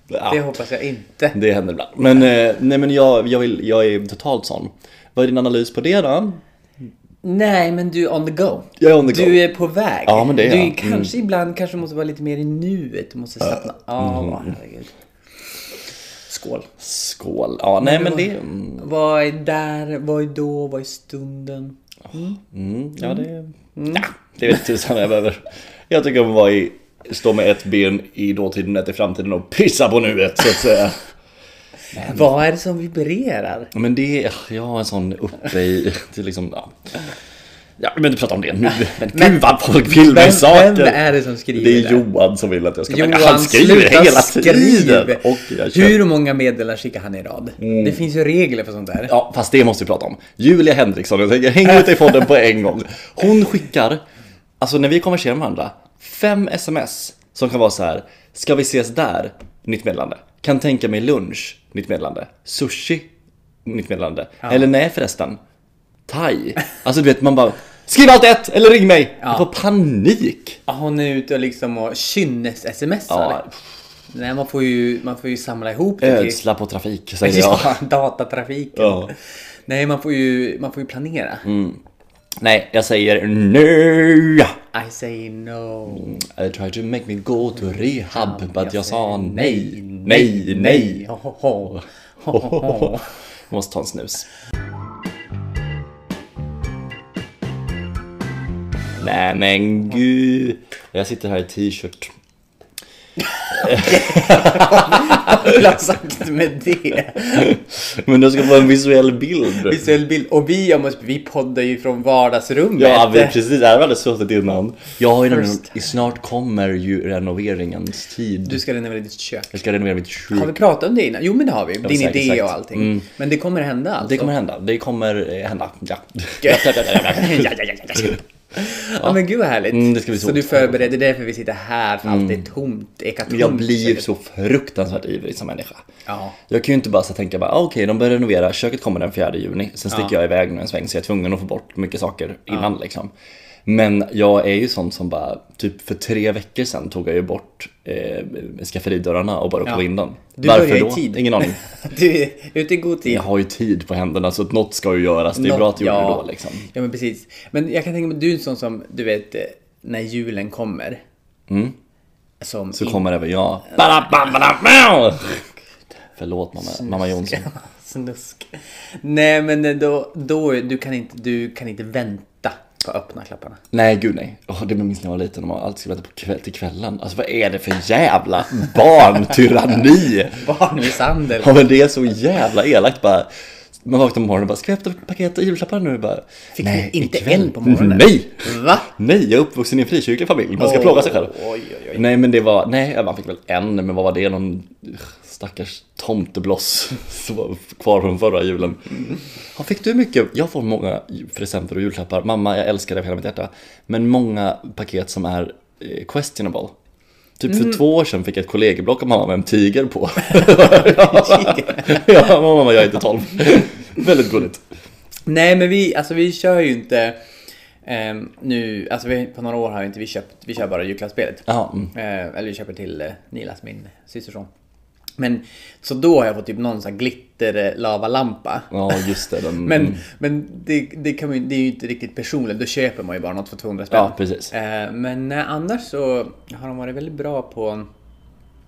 Speaker 1: Det
Speaker 2: Ja,
Speaker 1: hoppas jag inte.
Speaker 2: det händer ibland. Men, eh, nej, men jag, jag, vill, jag är totalt sån. Vad är din analys på det då?
Speaker 1: Nej men du är on the go.
Speaker 2: Jag är on the go.
Speaker 1: Du är på väg.
Speaker 2: Ja, men det är
Speaker 1: Du
Speaker 2: jag. Mm.
Speaker 1: kanske ibland kanske måste vara lite mer i nuet. Du måste slappna
Speaker 2: Mm.
Speaker 1: av. Åh, herregud. Skål.
Speaker 2: Skål. Ja, nej men det...
Speaker 1: Vad är där? Vad är då? Vad är stunden?
Speaker 2: Mm, ja, det... Ja, det vet tusan vad jag behöver. Jag tycker om att vara i, stå med ett ben i dåtiden, ett i framtiden och pissa på nuet så att säga. Mm.
Speaker 1: Vad är det som vibrerar?
Speaker 2: Men det, är- jag har en sån uppe i, till liksom, ja. Ja, men du pratar om det nu. Men gud vad folk vill
Speaker 1: Vem,
Speaker 2: mig saker.
Speaker 1: vem är det som skriver
Speaker 2: Det är
Speaker 1: där?
Speaker 2: Johan som vill att jag ska
Speaker 1: Johan,
Speaker 2: Han skriver
Speaker 1: sluta
Speaker 2: hela
Speaker 1: skriv!
Speaker 2: tiden. Och jag kör.
Speaker 1: Hur många meddelanden skickar han i rad? Det finns ju regler för sånt där.
Speaker 2: Ja, fast det måste vi prata om. Julia Henriksson, jag tänker hänga ut dig i podden på en gång. Hon skickar, alltså när vi konverserar med varandra, fem sms som kan vara så här. Ska vi ses där? Nytt meddelande. Kan tänka mig lunch? Nytt meddelande. Sushi? Nytt meddelande. Eller nej förresten. Thai? Alltså du vet, man bara Skriv allt ett eller ring mig! Jag får panik!
Speaker 1: Ja, Hon är ute och liksom och kynnes-smsar.
Speaker 2: Ja,
Speaker 1: Nej, man får, ju, man får ju samla ihop det till...
Speaker 2: ödsla på trafik säger jag.
Speaker 1: Ja, datatrafiken.
Speaker 2: Ja. Mm.
Speaker 1: Nej, man får ju, man får ju planera.
Speaker 2: Nej, jag säger nej!
Speaker 1: I say no.
Speaker 2: I tried to make me go to rehab, but jag sa
Speaker 1: säger
Speaker 2: nej, nej, nej.
Speaker 1: Ho, ho, ho. Ho, ho, ho.
Speaker 2: Måste ta en snus. Nej men gud. Jag sitter här i t-shirt.
Speaker 1: Vad vill ha sagt med det?
Speaker 2: Men du ska få en visuell bild.
Speaker 1: Visuell bild. Och vi, jag måste, vi poddar ju från vardagsrummet.
Speaker 2: Ja, vi precis. Här hade suttit innan. Jag har ju nämligen,
Speaker 1: First
Speaker 2: snart kommer ju renoveringens tid.
Speaker 1: Du ska renovera ditt kök.
Speaker 2: Jag ska renovera mitt
Speaker 1: Har
Speaker 2: kök.
Speaker 1: vi pratat om det innan? Jo men det har vi. Din
Speaker 2: säkert,
Speaker 1: idé
Speaker 2: säkert.
Speaker 1: och allting.
Speaker 2: Mm.
Speaker 1: Men det kommer hända alltså.
Speaker 2: Det kommer hända. Det kommer eh, hända. Ja.
Speaker 1: ja, ja, ja, ja, ja. Ja men gud vad härligt.
Speaker 2: Mm, det ska bli så Mm.
Speaker 1: så du förbereder dig för vi sitter här för allt är tomt. Ekatomt.
Speaker 2: Jag blir så fruktansvärt ivrig som människa.
Speaker 1: Mm, Ja.
Speaker 2: Jag kan ju inte bara så tänka bara, ah, okej de börjar renovera, köket kommer den 4 juni. Sen sticker jag iväg nu en sväng så jag är tvungen att få bort mycket saker innan liksom. Men jag är ju sån som bara, typ för tre veckor sedan tog jag ju bort eh, skafferidörrarna och bara ropade in dem.
Speaker 1: Du
Speaker 2: Varför
Speaker 1: börjar i
Speaker 2: då?
Speaker 1: tid.
Speaker 2: Ingen aning.
Speaker 1: Du är ute i god tid.
Speaker 2: Jag har ju tid på händerna så att något ska ju göras. Det är bra att jag gjorde det då liksom.
Speaker 1: Ja men precis. Men jag kan tänka mig, du är en sån som, du vet, eh, när julen kommer. Som
Speaker 2: Mm. Så kommer även jag. Bada, bam, bada, bam! Förlåt mamma, mamma Jonsson.
Speaker 1: Snusk. Nej men då, då är- du, kan inte, du kan inte vänta på att öppna klapparna.
Speaker 2: Nej, gud nej. Åh, det minns när jag var liten och man alltid skulle vänta på kväll, till kvällen. Alltså vad är det för jävla barntyranni?
Speaker 1: Barnmisshandel.
Speaker 2: Ja men det är så jävla elakt bara. Man vaknar på morgonen och bara, ska jag öppna paket och julklappar nu? Bara,
Speaker 1: Fick
Speaker 2: nej,
Speaker 1: ni inte
Speaker 2: ikväll."
Speaker 1: eld på morgonen?
Speaker 2: Nej!
Speaker 1: Va?
Speaker 2: Nej, jag är uppvuxen i en frikyrklig familj. Man ska
Speaker 1: Åh,
Speaker 2: plåga sig själv.
Speaker 1: oj, oj, oj.
Speaker 2: Nej, men det var, nej, man fick väl en, men vad var det? Någon ugh, stackars tomtebloss som var kvar från förra julen. Ja, fick du mycket? Jag får många presenter och julklappar. Mamma, jag älskar dig av hela mitt hjärta. Men många paket som är eh, questionable. Typ för två år sedan fick jag ett kollegieblock av mamma med en tiger på. ja, mamma, jag är inte tolv. Väldigt gulligt.
Speaker 1: Nej men vi, alltså vi kör ju inte ehm, nu, alltså vi, på några år har vi inte vi köpt, vi kör bara julklappsspelet.
Speaker 2: Ja, mm.
Speaker 1: Eh, eller vi köper till eh, Nilas, min systerson. Men så då har jag fått typ någon sån här glitter eh, lavalampa.
Speaker 2: ja just det. Den,
Speaker 1: Men, men det, det, kan man, ju- det är ju inte riktigt personligt, då köper man ju bara något för 200 spänn.
Speaker 2: ja, precis.
Speaker 1: Eh, men eh, annars så har de varit väldigt bra på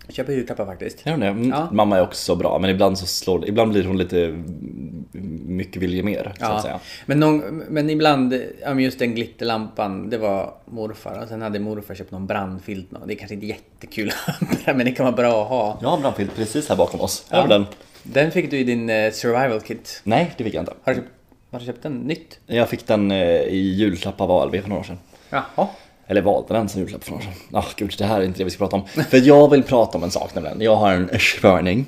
Speaker 1: att köpa julklappar faktiskt.
Speaker 2: Är hon det? Mm.
Speaker 1: Ja.
Speaker 2: Mamma är också bra, men ibland så slår Ibland blir hon lite mm, mycket vilja mer, så att säga.
Speaker 1: Men, någon, men ibland, ja, men just den glitterlampan, det var morfar. Och sen hade morfar köpt någon brandfilt. nå- Det är kanske inte jättekul lampa, men det kan vara bra att ha.
Speaker 2: Jag har en brandfilt precis här bakom oss. Här har vi den.
Speaker 1: Den fick du i din eh, survival kit.
Speaker 2: Nej, det fick jag inte.
Speaker 1: Har du, köpt- har du köpt den nytt?
Speaker 2: Jag fick den eh, i julklapp av ALB för några år sedan.
Speaker 1: Jaha.
Speaker 2: Eller valde den som julklapp för några år sedan. Ah, gud, det här är inte det vi ska prata om. För jag vill prata om en sak nämligen. Jag har en störning.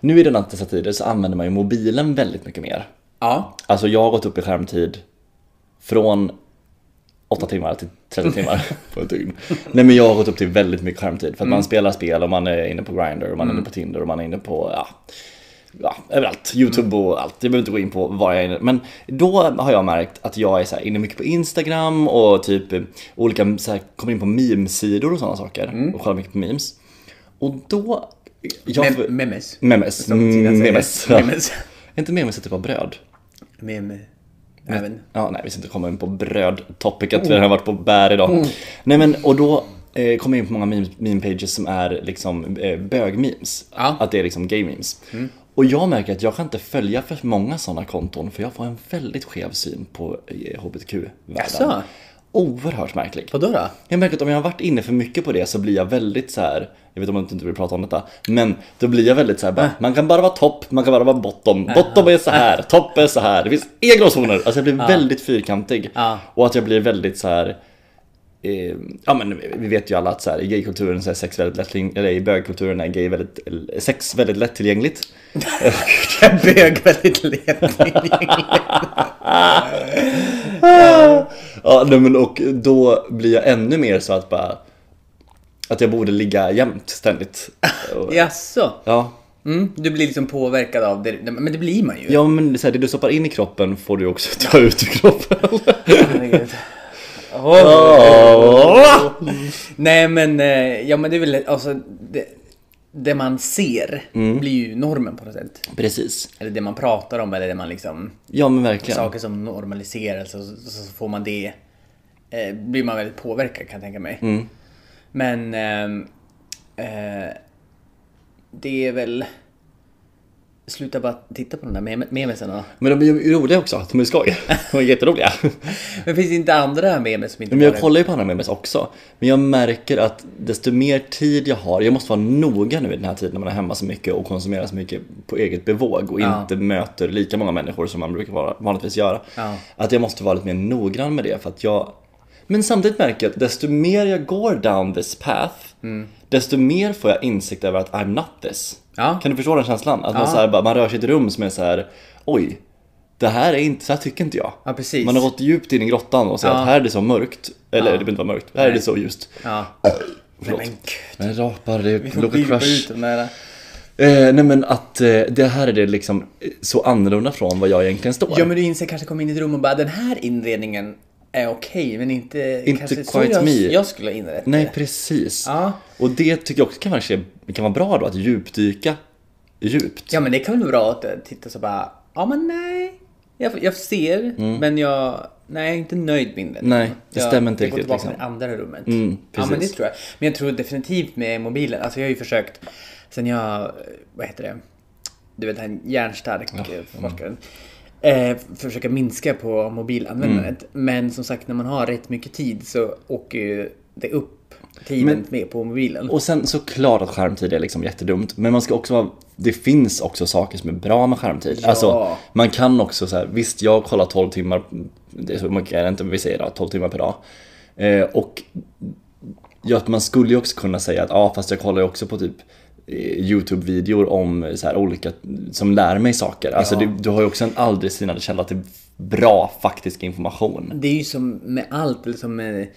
Speaker 2: Nu i denna dessa tider så använder man ju mobilen väldigt mycket mer.
Speaker 1: Ja.
Speaker 2: Alltså jag har gått upp i skärmtid från 8 timmar till 30 timmar på ett dygn. Nej men jag har gått upp till väldigt mycket skärmtid för att
Speaker 1: Mm.
Speaker 2: man spelar spel och man är inne på Grindr och man är inne på Tinder och man är inne på ja, ja, överallt.
Speaker 1: Mm.
Speaker 2: Youtube och allt. Jag behöver inte gå in på vad jag är inne Men då har jag märkt att jag är så här inne mycket på Instagram och typ eh, olika, så här, kommer in på memesidor och sådana saker och kollar mycket på memes. Och då... Jag,
Speaker 1: Mm. Mem- memes.
Speaker 2: memes.
Speaker 1: Som Tina säger.
Speaker 2: Mm, Memes. Ja.
Speaker 1: Memes.
Speaker 2: Är inte memes ett typ av bröd?
Speaker 1: Meme. Även.
Speaker 2: Ja, nej, vi ska inte komma in på brödtopicet, vi
Speaker 1: Mm.
Speaker 2: har varit på bär idag. Nej men, och då eh, kommer jag in på många meme- meme-pages som är liksom eh, bög-memes.
Speaker 1: Ja. Mm.
Speaker 2: Att det är liksom gay-memes. Och jag märker att jag kan inte följa för många sådana konton för jag får en väldigt skev syn på eh, hbtq-världen.
Speaker 1: Jaså?
Speaker 2: Oerhört märklig.
Speaker 1: Vadå då?
Speaker 2: Jag märker att om jag har varit inne för mycket på det så blir jag väldigt så här. jag vet om du inte vill prata om detta, men då blir jag väldigt så här, bara, man kan bara vara topp, man kan bara vara bottom, bottom är så här, topp är så här, det finns inga gråzoner. Alltså jag blir väldigt fyrkantig.
Speaker 1: Ja.
Speaker 2: Och att jag blir väldigt så här. Eh, ja men vi vet ju alla att så här, i gaykulturen så är sex väldigt lättillgängligt, eller i bögkulturen är gay väldigt, eh, sex väldigt lättillgängligt.
Speaker 1: Jag bög väldigt ledning.
Speaker 2: Ja, nej, men och då blir jag ännu mer så att bara, att jag borde ligga jämnt ständigt. Och-
Speaker 1: Jaså?
Speaker 2: Ja,
Speaker 1: Mm, du blir liksom påverkad av det. Men det blir man ju.
Speaker 2: Ja men så här, det du stoppar in i kroppen får du också ta ut ur kroppen.
Speaker 1: Herregud. Nej men, eh, ja men det är väl, alltså det, det man ser
Speaker 2: Mm.
Speaker 1: blir ju normen på något sätt.
Speaker 2: Precis.
Speaker 1: Eller det man pratar om eller det man liksom,
Speaker 2: Ja men verkligen.
Speaker 1: saker som normaliseras så, så, så får man det, eh, blir man väldigt påverkad kan jag tänka mig.
Speaker 2: Mm.
Speaker 1: Men ehm, eh, det är väl, sluta bara titta på de där mem- memesen då.
Speaker 2: Men de är ju roliga också, de är skoj. De är jätteroliga.
Speaker 1: Men finns det inte andra memes som inte
Speaker 2: Men jag
Speaker 1: är-
Speaker 2: kollar ju på andra memes också. Men jag märker att desto mer tid jag har, jag måste vara noga nu i den här tiden när man är hemma så mycket och konsumerar så mycket på eget bevåg och
Speaker 1: Ja.
Speaker 2: inte möter lika många människor som man brukar vara, vanligtvis göra.
Speaker 1: Ja.
Speaker 2: Att jag måste vara lite mer noggrann med det för att jag Men samtidigt märker jag att desto mer jag går down this path
Speaker 1: Mm.
Speaker 2: Desto mer får jag insikt över att I'm not this
Speaker 1: Ja.
Speaker 2: Kan du förstå den känslan? Att man, så här, bara, man rör sig i ett rum som är så här Oj det här är inte, så här tycker inte jag.
Speaker 1: Ja, precis.
Speaker 2: Man har gått djupt in i grottan och säger att här är det så mörkt. Eller det behöver inte vara mörkt, här är det så ljust.
Speaker 1: Ja. Nej
Speaker 2: Förlåt.
Speaker 1: men gud.
Speaker 2: Men rapar, det
Speaker 1: Vi
Speaker 2: är
Speaker 1: får
Speaker 2: Local
Speaker 1: blipa
Speaker 2: Crush.
Speaker 1: ut de där.
Speaker 2: Eh, nej men att eh, det här är det liksom eh, så annorlunda från vad jag egentligen står.
Speaker 1: Ja men du inser kanske kom in i ett rum och bara den här inredningen är okej men inte,
Speaker 2: Inte
Speaker 1: kanske så
Speaker 2: quite
Speaker 1: jag,
Speaker 2: me.
Speaker 1: jag skulle ha inrett
Speaker 2: Nej
Speaker 1: det.
Speaker 2: precis.
Speaker 1: Ja.
Speaker 2: Och det tycker jag också kan, kanske, kan vara bra då, att djupdyka djupt.
Speaker 1: Ja men det kan väl vara bra att eh, titta så bara, ja men nej. Jag, jag ser men jag, nej jag är inte nöjd med inredningen.
Speaker 2: Mm. Nej, det
Speaker 1: jag,
Speaker 2: stämmer inte
Speaker 1: jag går
Speaker 2: riktigt,
Speaker 1: tillbaka
Speaker 2: liksom. Mm,
Speaker 1: till det andra rummet. ja
Speaker 2: precis.
Speaker 1: men det tror jag. Men jag tror definitivt med mobilen, alltså jag har ju försökt sen jag, eh, vad heter det, du vet han järnstark eh, forskaren. Eh, försöka minska på mobilanvändandet.
Speaker 2: Mm.
Speaker 1: Men som sagt när man har rätt mycket tid så åker ju det upp tiden med på mobilen.
Speaker 2: Och sen såklart att skärmtid är liksom jättedumt. Men man ska också vara, det finns också saker som är bra med skärmtid.
Speaker 1: Ja.
Speaker 2: Alltså man kan också så här, visst jag kollar 12 timmar, det är så mycket är det inte, men vi säger då, 12 timmar per dag. Eh, och ja, att man skulle ju också kunna säga att ja fast jag kollar ju också på typ eh, Youtube-videor om så här olika, som lär mig saker. Alltså det, du har ju också en aldrig sinande källa till bra faktisk information.
Speaker 1: Det är ju som med allt, eller som med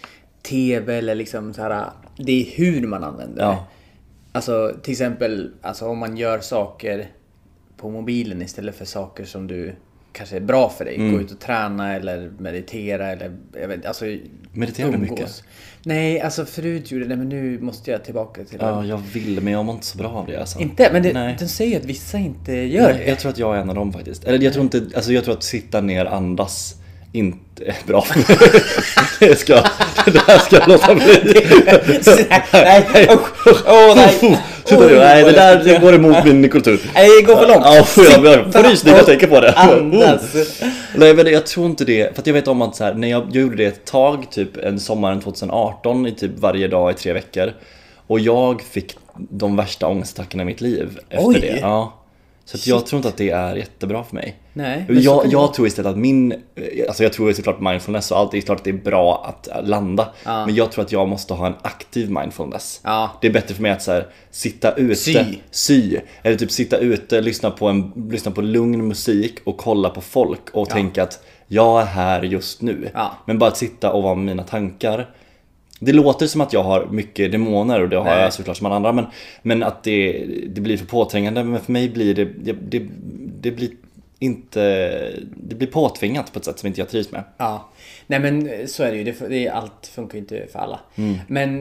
Speaker 1: TV eller liksom så här. Det är hur man använder det.
Speaker 2: Ja.
Speaker 1: Alltså till exempel alltså, om man gör saker på mobilen istället för saker som du kanske är bra för dig.
Speaker 2: Mm.
Speaker 1: Gå ut och träna eller meditera eller jag vet inte, alltså
Speaker 2: Mediterar du mycket?
Speaker 1: umgås. Nej, alltså förut gjorde jag det men nu måste jag tillbaka till det.
Speaker 2: Ja, jag vill men jag mår inte så bra av det alltså.
Speaker 1: Inte? Men det,
Speaker 2: Nej.
Speaker 1: de säger ju att vissa inte gör
Speaker 2: Nej,
Speaker 1: det.
Speaker 2: Jag tror att jag är en av dem faktiskt. Eller jag tror inte, alltså jag tror att sitta ner, andas, inte är bra för mig. Det ska, det här ska jag låta bli.
Speaker 1: nej, usch, usch, åh nej.
Speaker 2: Sitta ner, nej det där det går emot min kultur.
Speaker 1: Nej, det går för långt.
Speaker 2: Ja, får jag jag får rysning när jag tänker på det.
Speaker 1: Andas.
Speaker 2: Nej men jag tror inte det, för att jag vet om att så här, när jag, jag gjorde det ett tag, typ en sommaren 2018, i typ varje dag i tre veckor. Och jag fick de värsta ångestattackerna i mitt liv efter
Speaker 1: Oj.
Speaker 2: det. Ja. Så att jag tror inte att det är jättebra för mig.
Speaker 1: Nej, men så
Speaker 2: jag,
Speaker 1: kan det
Speaker 2: jag tror istället att min, eh, alltså jag tror ju såklart mindfulness och allt, det är klart att det är bra att eh, landa. Men jag tror att jag måste ha en aktiv mindfulness.
Speaker 1: Ja.
Speaker 2: Det är bättre för mig att så här, sitta ute,
Speaker 1: Sy.
Speaker 2: sy, eller typ sitta ute, lyssna på, en, lyssna på lugn musik och kolla på folk och tänka att jag är här just nu.
Speaker 1: Ja.
Speaker 2: Men bara att sitta och vara med mina tankar. Det låter som att jag har mycket demoner och det har
Speaker 1: Nej.
Speaker 2: jag såklart som alla andra men, men att det, det blir för påträngande. Men för mig blir det, det, det, det blir inte, det blir påtvingat på ett sätt som inte jag trivs med.
Speaker 1: Ja, nej men eh, så är det ju. Det, fu- det, är- allt funkar ju inte för alla. Men,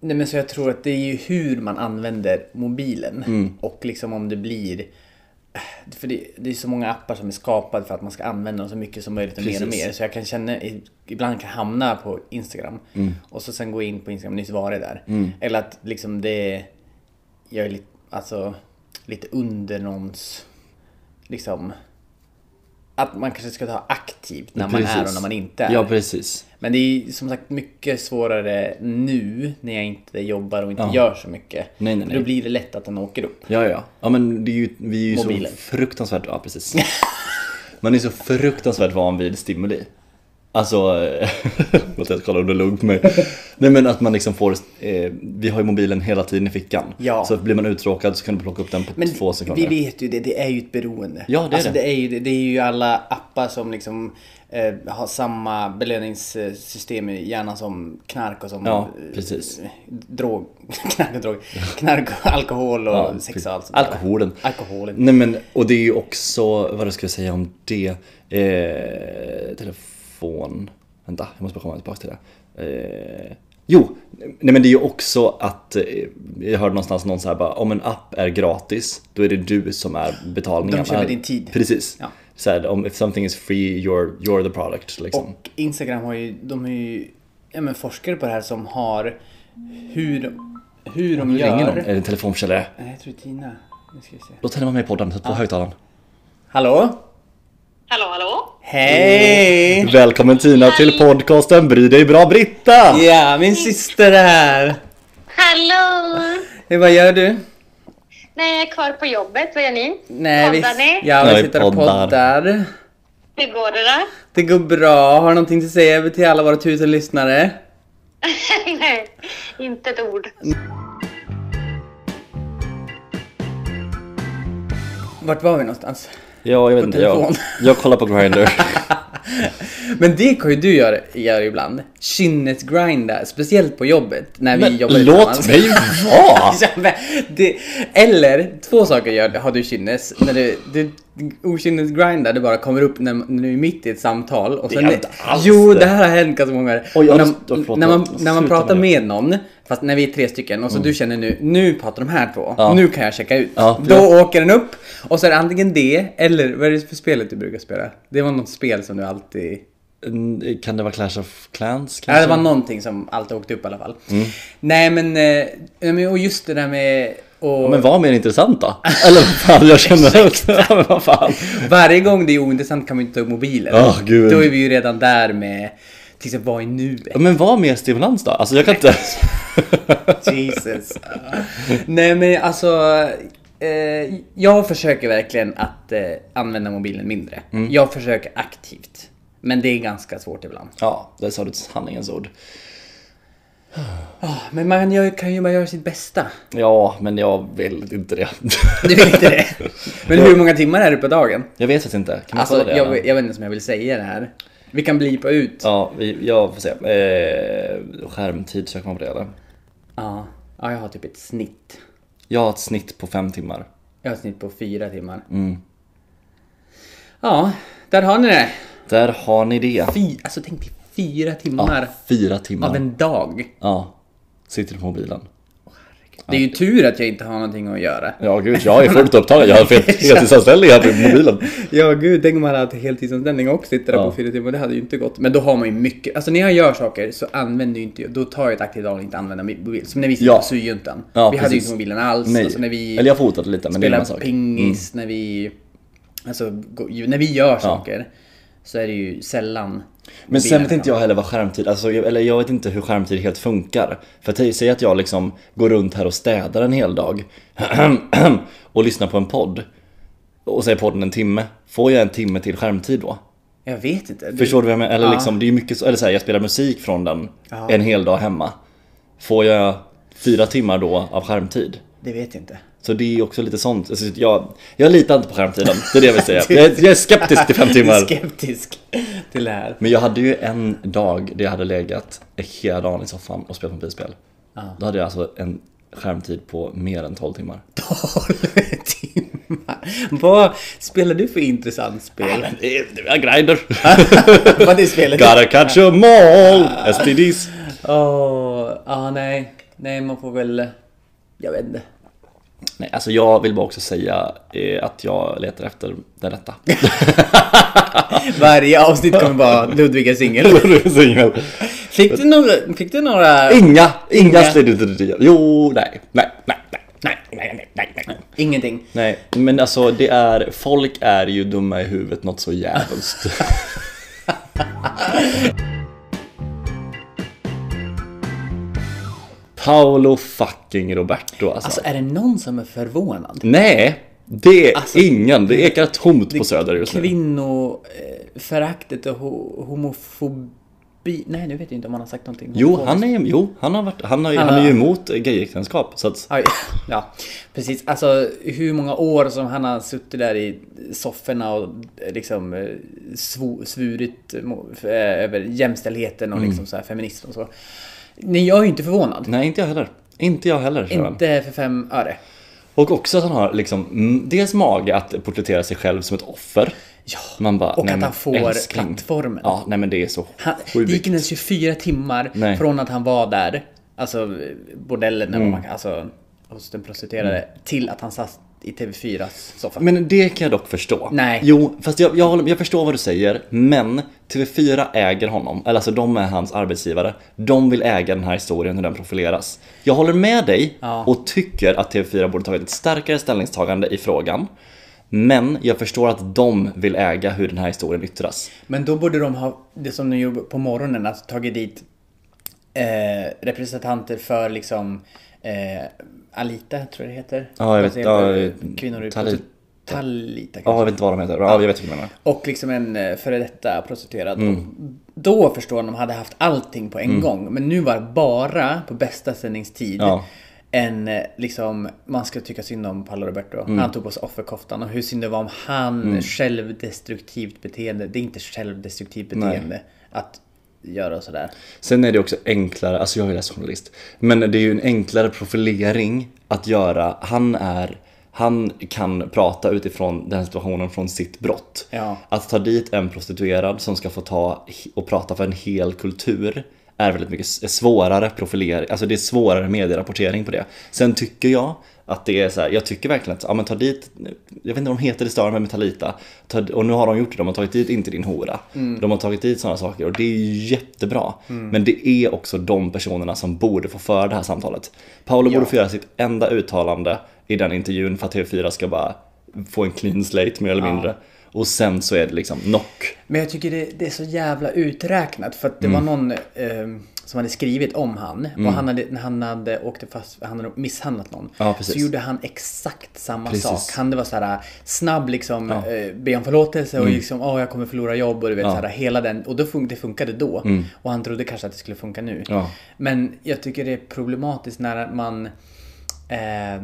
Speaker 1: nej men så jag tror att det är ju hur man använder mobilen och liksom om det blir eh, för det, det är så många appar som är skapade för att man ska använda dem så mycket som möjligt och mer och
Speaker 2: Precis.
Speaker 1: mer. Så jag kan känna, ibland kan jag hamna på Instagram och så sen gå in på Instagram, nyss var det där. Eller att liksom det, jag är lite, alltså, lite under någons, liksom, att man kanske ska ta aktivt när man är och
Speaker 2: Precis.
Speaker 1: när man inte är.
Speaker 2: Ja precis.
Speaker 1: Men det är som sagt mycket svårare nu när jag inte jobbar och inte gör så mycket.
Speaker 2: Nej, nej, nej.
Speaker 1: Då blir det lätt att den åker upp.
Speaker 2: Ja, ja. Ja, men det är ju, vi är ju
Speaker 1: Mobilen.
Speaker 2: så fruktansvärt... Ja, precis. Man är så fruktansvärt van vid stimuli. Alltså, eh, låt jag kolla om det är lugnt med Nej men att man liksom får, eh, vi har ju mobilen hela tiden i fickan.
Speaker 1: Ja.
Speaker 2: Så blir man uttråkad så kan du plocka upp den på
Speaker 1: Men
Speaker 2: två sekunder.
Speaker 1: vi vet ju det, det är ju ett beroende.
Speaker 2: Ja, det är
Speaker 1: alltså,
Speaker 2: det.
Speaker 1: det. är ju, det, det är ju alla appar som liksom eh, har samma belöningssystem i hjärnan som knark och som
Speaker 2: Ja,
Speaker 1: eh,
Speaker 2: precis.
Speaker 1: drog. knark och drog. Knark och alkohol och
Speaker 2: Ja,
Speaker 1: sex och allt sånt där.
Speaker 2: Alkoholen.
Speaker 1: Alkoholen.
Speaker 2: Nej men, och det är ju också, vad ska jag säga om det? Eh, telefon... Vänta, jag måste bara komma tillbaka till det. Eh, jo, nej men det är ju också att, eh, jag hörde någonstans någon så här bara, om en app är gratis, då är det du som är betalningen.
Speaker 1: De köper din tid.
Speaker 2: Precis.
Speaker 1: Ja.
Speaker 2: Så här, om if something is free, you're, you're the product liksom.
Speaker 1: Och Instagram har ju, de har ju ja, men forskare på det här som har hur, hur de
Speaker 2: nu ringer någon,
Speaker 1: gör.
Speaker 2: är det en telefonförsäljare?
Speaker 1: Nej, jag tror det är Tina. Nu ska vi se.
Speaker 2: Låt henne vara med i podden, sätt på högtalaren.
Speaker 1: Hallå?
Speaker 3: Hallå, hallå!
Speaker 1: Hej!
Speaker 2: Välkommen Tina till podcasten Bry dig bra Britta!
Speaker 1: Ja, min syster är här.
Speaker 3: Hallå!
Speaker 1: Hej, vad gör du?
Speaker 3: Nej, jag är kvar på jobbet. Vad gör ni?
Speaker 1: Nej, vi,
Speaker 3: Poddar ni?
Speaker 1: ja,
Speaker 2: Ja,
Speaker 1: vi
Speaker 2: vi
Speaker 1: sitter och
Speaker 2: poddar.
Speaker 1: poddar.
Speaker 3: Hur går det då?
Speaker 1: Det går bra. Har du någonting att säga till alla våra tusen lyssnare?
Speaker 3: Nej, inte ett ord.
Speaker 1: Vart var vi någonstans?
Speaker 2: Ja, jag vet
Speaker 1: På
Speaker 2: inte. Jag,
Speaker 1: telefon.
Speaker 2: jag kollar på Grindr.
Speaker 1: Men det kan ju du göra, göra ibland. Kynnesgrinda, speciellt på jobbet. När vi
Speaker 2: Men
Speaker 1: jobbar
Speaker 2: låt
Speaker 1: tillsammans.
Speaker 2: mig vara!
Speaker 1: Ja, men det, eller, två saker gör, har du kynnes. När du, du okynnesgrindar, det bara kommer upp när, när du är mitt i ett samtal. Och
Speaker 2: Det
Speaker 1: sen,
Speaker 2: gör inte alls
Speaker 1: jo,
Speaker 2: det.
Speaker 1: det här har hänt ganska många gånger.
Speaker 2: Oj, jag
Speaker 1: när,
Speaker 2: måste- förlåt,
Speaker 1: när, man,
Speaker 2: jag måste
Speaker 1: när man
Speaker 2: sluta
Speaker 1: pratar
Speaker 2: med Mm.
Speaker 1: med någon, fast när vi är tre stycken och så du känner nu, nu pratar de här två.
Speaker 2: Ja.
Speaker 1: Nu kan jag checka ut.
Speaker 2: Ja,
Speaker 1: Då
Speaker 2: ja.
Speaker 1: åker den upp och så är det antingen det eller vad är det för spelet du brukar spela? Det var något spel som du alltid
Speaker 2: Mm, Kan det vara Clash of Clans?
Speaker 1: Ja, det
Speaker 2: Kanske?
Speaker 1: var någonting som alltid åkte upp i alla fall.
Speaker 2: Mm.
Speaker 1: Nej, men, eh, nej, men och just det där med och
Speaker 2: Men var mer intressant då? Eller vad fan, jag känner... Ja, men vad fan.
Speaker 1: varje gång det är ointressant kan man inte ta upp mobilen.
Speaker 2: Ah, gud.
Speaker 1: Då är vi ju redan där med till exempel vad är nuet?
Speaker 2: Ja, Men var mer stimulans då? Alltså jag kan inte...
Speaker 1: Jesus. nej, men alltså eh, jag försöker verkligen att eh, använda mobilen mindre. Jag försöker aktivt, men det är ganska svårt ibland.
Speaker 2: Ja, där sa du sanningens ord.
Speaker 1: Ah, Men man gör, kan ju bara göra sitt bästa.
Speaker 2: Ja, men jag vill inte det.
Speaker 1: Du vill inte det? Men hur många timmar är det på dagen?
Speaker 2: Jag vet faktiskt inte. Kan man kolla
Speaker 1: Alltså,
Speaker 2: det?
Speaker 1: jag, jag vet inte om jag vill säga det här. Vi kan blipa ut. Ja.
Speaker 2: Ja, vi, jag får se. Eh, skärmtid, söker man på det eller?
Speaker 1: Ja. jag har typ ett snitt.
Speaker 2: Jag har ett snitt på fem timmar.
Speaker 1: Jag har ett snitt på fyra timmar. Ja, där har ni det.
Speaker 2: Där har ni det.
Speaker 1: Fy, alltså tänk dig fyra timmar
Speaker 2: Ja, fyra
Speaker 1: av
Speaker 2: timmar.
Speaker 1: en dag.
Speaker 2: Ja. Sitter på mobilen.
Speaker 1: Det är ju tur att jag inte har någonting att göra.
Speaker 2: Ja, gud, jag är fullt upptagen. Jag har fel- heltidsanställning här på mobilen.
Speaker 1: Ja, gud, tänk om man hade haft heltidsanställning och sitter där
Speaker 2: Ja.
Speaker 1: på fyra timmar. Det hade ju inte gått. Men då har man ju mycket. Alltså när jag gör saker så använder ju inte jag. Då tar jag ett aktivt val att inte använda min mobil. Som när vi sitter
Speaker 2: Ja.
Speaker 1: på syjuntan.
Speaker 2: Ja,
Speaker 1: vi hade ju
Speaker 2: precis.
Speaker 1: inte mobilen alls.
Speaker 2: Nej.
Speaker 1: Alltså, när vi...
Speaker 2: Eller jag fotade lite, men det är en annan
Speaker 1: spela
Speaker 2: sak.
Speaker 1: pingis, när vi... Alltså, gå- ju- när vi gör saker så är det ju sällan
Speaker 2: Men sen
Speaker 1: mobilen
Speaker 2: vet inte jag heller vad skärmtid, alltså, jag- eller jag vet inte hur skärmtid helt funkar. För att säg- säg att jag liksom går runt här och städar en hel dag och lyssnar på en podd. Och säger podden en timme. Får jag en timme till skärmtid då?
Speaker 1: Jag vet inte. Du-
Speaker 2: Förstår du vad jag menar? Eller
Speaker 1: Ja.
Speaker 2: liksom, det är ju mycket så, eller så här, jag spelar musik från den
Speaker 1: Ja.
Speaker 2: en hel dag hemma. Får jag fyra timmar då av skärmtid?
Speaker 1: Det vet jag inte.
Speaker 2: Så det är också lite sånt. Alltså, jag, jag litar inte på skärmtiden, det är det jag vill säga. Jag, är- jag är skeptisk till fem
Speaker 1: Du är
Speaker 2: timmar.
Speaker 1: skeptisk till det här.
Speaker 2: Men jag hade ju en dag där jag hade legat hela dagen i soffan och spelat mobilspel. Då hade jag alltså en skärmtid på mer än 12 timmar.
Speaker 1: 12 timmar. Vad spelar du för intressant spel?
Speaker 2: Det var grinder.
Speaker 1: Vad det spelet?
Speaker 2: Gotta catch 'em all! STDs.
Speaker 1: Åh, ah, nej. Nej, man får väl... Jag vet inte.
Speaker 2: Nej, alltså jag vill bara också säga eh, att jag letar efter den rätta.
Speaker 1: Varje avsnitt kommer bara Ludvig är singel.
Speaker 2: Du är singel.
Speaker 1: Fick du några... Fick du några...
Speaker 2: Inga, inga slidder Jo, nej, nej, nej, nej, nej, nej, nej, nej.
Speaker 1: Ingenting.
Speaker 2: Nej, men alltså det är, folk är ju dumma i huvudet något så jävligt. Paolo fucking Roberto alltså.
Speaker 1: Alltså, är det någon som är förvånad?
Speaker 2: Nej, det är ingen. alltså, Det ekar tomt på Söder just nu.
Speaker 1: kvinnoföraktet och ho- homofobi. Nej, nu vet jag inte om han har sagt någonting.
Speaker 2: Jo, han är, jo, han har varit, han, har, han är ju emot gayäktenskap. Så att,
Speaker 1: Aj, ja, precis. Alltså hur många år som han har suttit där i sofforna och eh, liksom eh, svo- svurit mo- f- eh, över jämställdheten
Speaker 2: Mm.
Speaker 1: och liksom så här feminism och så. Nej, jag är ju inte förvånad.
Speaker 2: nej, inte jag heller. Inte jag heller. kära vän.
Speaker 1: Inte för fem öre.
Speaker 2: Och också att han har liksom, mm, dels mage att porträttera sig själv som ett offer.
Speaker 1: Ja,
Speaker 2: Man bara,
Speaker 1: och
Speaker 2: nej,
Speaker 1: att
Speaker 2: men
Speaker 1: han får
Speaker 2: älskling.
Speaker 1: plattformen.
Speaker 2: Ja, nej men det är så
Speaker 1: Han, det
Speaker 2: sjukt.
Speaker 1: gick inte ens 24 timmar
Speaker 2: Nej. Mm.
Speaker 1: från att han var där, alltså bordellen, eller vad man, kan- alltså hos den prostituerade, till att han satt i TV4s soffa.
Speaker 2: Men det kan jag dock förstå.
Speaker 1: Nej.
Speaker 2: Jo, fast jag, jag, håller, jag förstår vad du säger, men TV4 äger honom. Eller alltså de är hans arbetsgivare. De vill äga den här historien, hur den profileras. Jag håller med dig
Speaker 1: Ja.
Speaker 2: och tycker att TV4 borde tagit ett starkare ställningstagande i frågan. Men jag förstår att de vill äga hur den här historien yttras.
Speaker 1: Men då borde de ha, det som de gjorde på morgonen, att tagit dit eh, representanter för liksom eh, Alita, tror jag det heter.
Speaker 2: Ja, jag vet. Ja,
Speaker 1: Kvinnor i
Speaker 2: Talita.
Speaker 1: prostitution. Talita
Speaker 2: Ja,
Speaker 1: kanske.
Speaker 2: jag vet inte vad de heter. Ja, Mm. jag vet vad du menar.
Speaker 1: Och liksom en eh, före detta prostituerad. Då
Speaker 2: Mm.
Speaker 1: förstår jag om de hade haft allting på en gång. Men nu var det bara på bästa sändningstid.
Speaker 2: Ja.
Speaker 1: en eh, liksom, man ska tycka synd om Paolo Roberto.
Speaker 2: Mm.
Speaker 1: Han tog på sig offerkoftan och hur synd det var om han självdestruktivt beteende. Det är inte självdestruktivt beteende att göra sådär.
Speaker 2: Sen är det också enklare, alltså jag är läst journalist, men det är ju en enklare profilering att göra. Han är, han kan prata utifrån den här situationen från sitt brott.
Speaker 1: Ja.
Speaker 2: Att ta dit en prostituerad som ska få ta och prata för en hel kultur är väldigt mycket s- svårare profilering, alltså det är svårare medierapportering på det. Sen tycker jag att det är så här, jag tycker verkligen att, ja men ta dit, jag vet inte vad de heter i staden, men Talita. Ta, och nu har de gjort det, de har tagit dit inte din hora. De har tagit dit sådana saker och det är ju jättebra. Men det är också de personerna som borde få föra det här samtalet. Paolo borde få göra sitt enda uttalande i den intervjun för att TV4 ska bara få en clean slate mer eller mindre. Och sen så är det liksom knock.
Speaker 1: Men jag tycker det, det är så jävla uträknat för att det var
Speaker 2: Mm.
Speaker 1: någon eh, som hade skrivit om han och han hade, när han hade åkt fast, han hade misshandlat någon.
Speaker 2: Ja, precis.
Speaker 1: så gjorde han exakt samma
Speaker 2: Precis.
Speaker 1: sak. Han det var så här äh, snabb liksom, eh, be om förlåtelse
Speaker 2: Mm.
Speaker 1: och liksom, åh jag kommer förlora jobb och du vet så här hela den. Och då fun- det funkade då. Och han trodde kanske att det skulle funka nu.
Speaker 2: Mm. Ja.
Speaker 1: Men jag tycker det är problematiskt när man eh,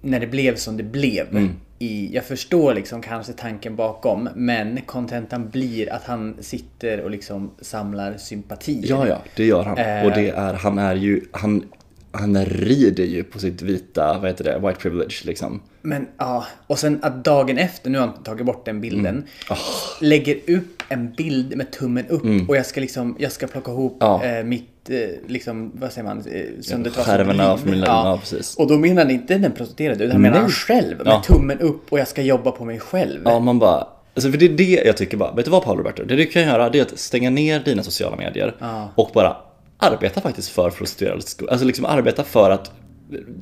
Speaker 1: när det blev som det blev.
Speaker 2: Mm.
Speaker 1: I, jag förstår liksom kanske tanken bakom men kontentan blir att han sitter och liksom samlar sympatier.
Speaker 2: Ja, ja, det gör han.
Speaker 1: Eh.
Speaker 2: Och det är, han är ju, han, han rider ju på sitt vita, vad heter det, white privilege liksom.
Speaker 1: Men ja, och sen att dagen efter, nu har han tagit bort den bilden,
Speaker 2: Mm. Ah.
Speaker 1: lägger upp en bild med tummen upp och jag ska liksom, jag ska plocka ihop
Speaker 2: Mm. Ja.
Speaker 1: eh, mitt, eh, liksom, vad säger man, eh, söndertrasat
Speaker 2: Skärvorna
Speaker 1: liv.
Speaker 2: av familjen, ja precis.
Speaker 1: Och då menar han inte den prostituerade utan han menar
Speaker 2: Nej.
Speaker 1: han själv med
Speaker 2: Ja.
Speaker 1: tummen upp och jag ska jobba på mig själv.
Speaker 2: Ja, man bara... Alltså för det är det jag tycker bara, vet du vad Paolo Roberto? Det du kan göra det är att stänga ner dina sociala medier och bara arbeta faktiskt för prostituerades skull. Alltså liksom arbeta för att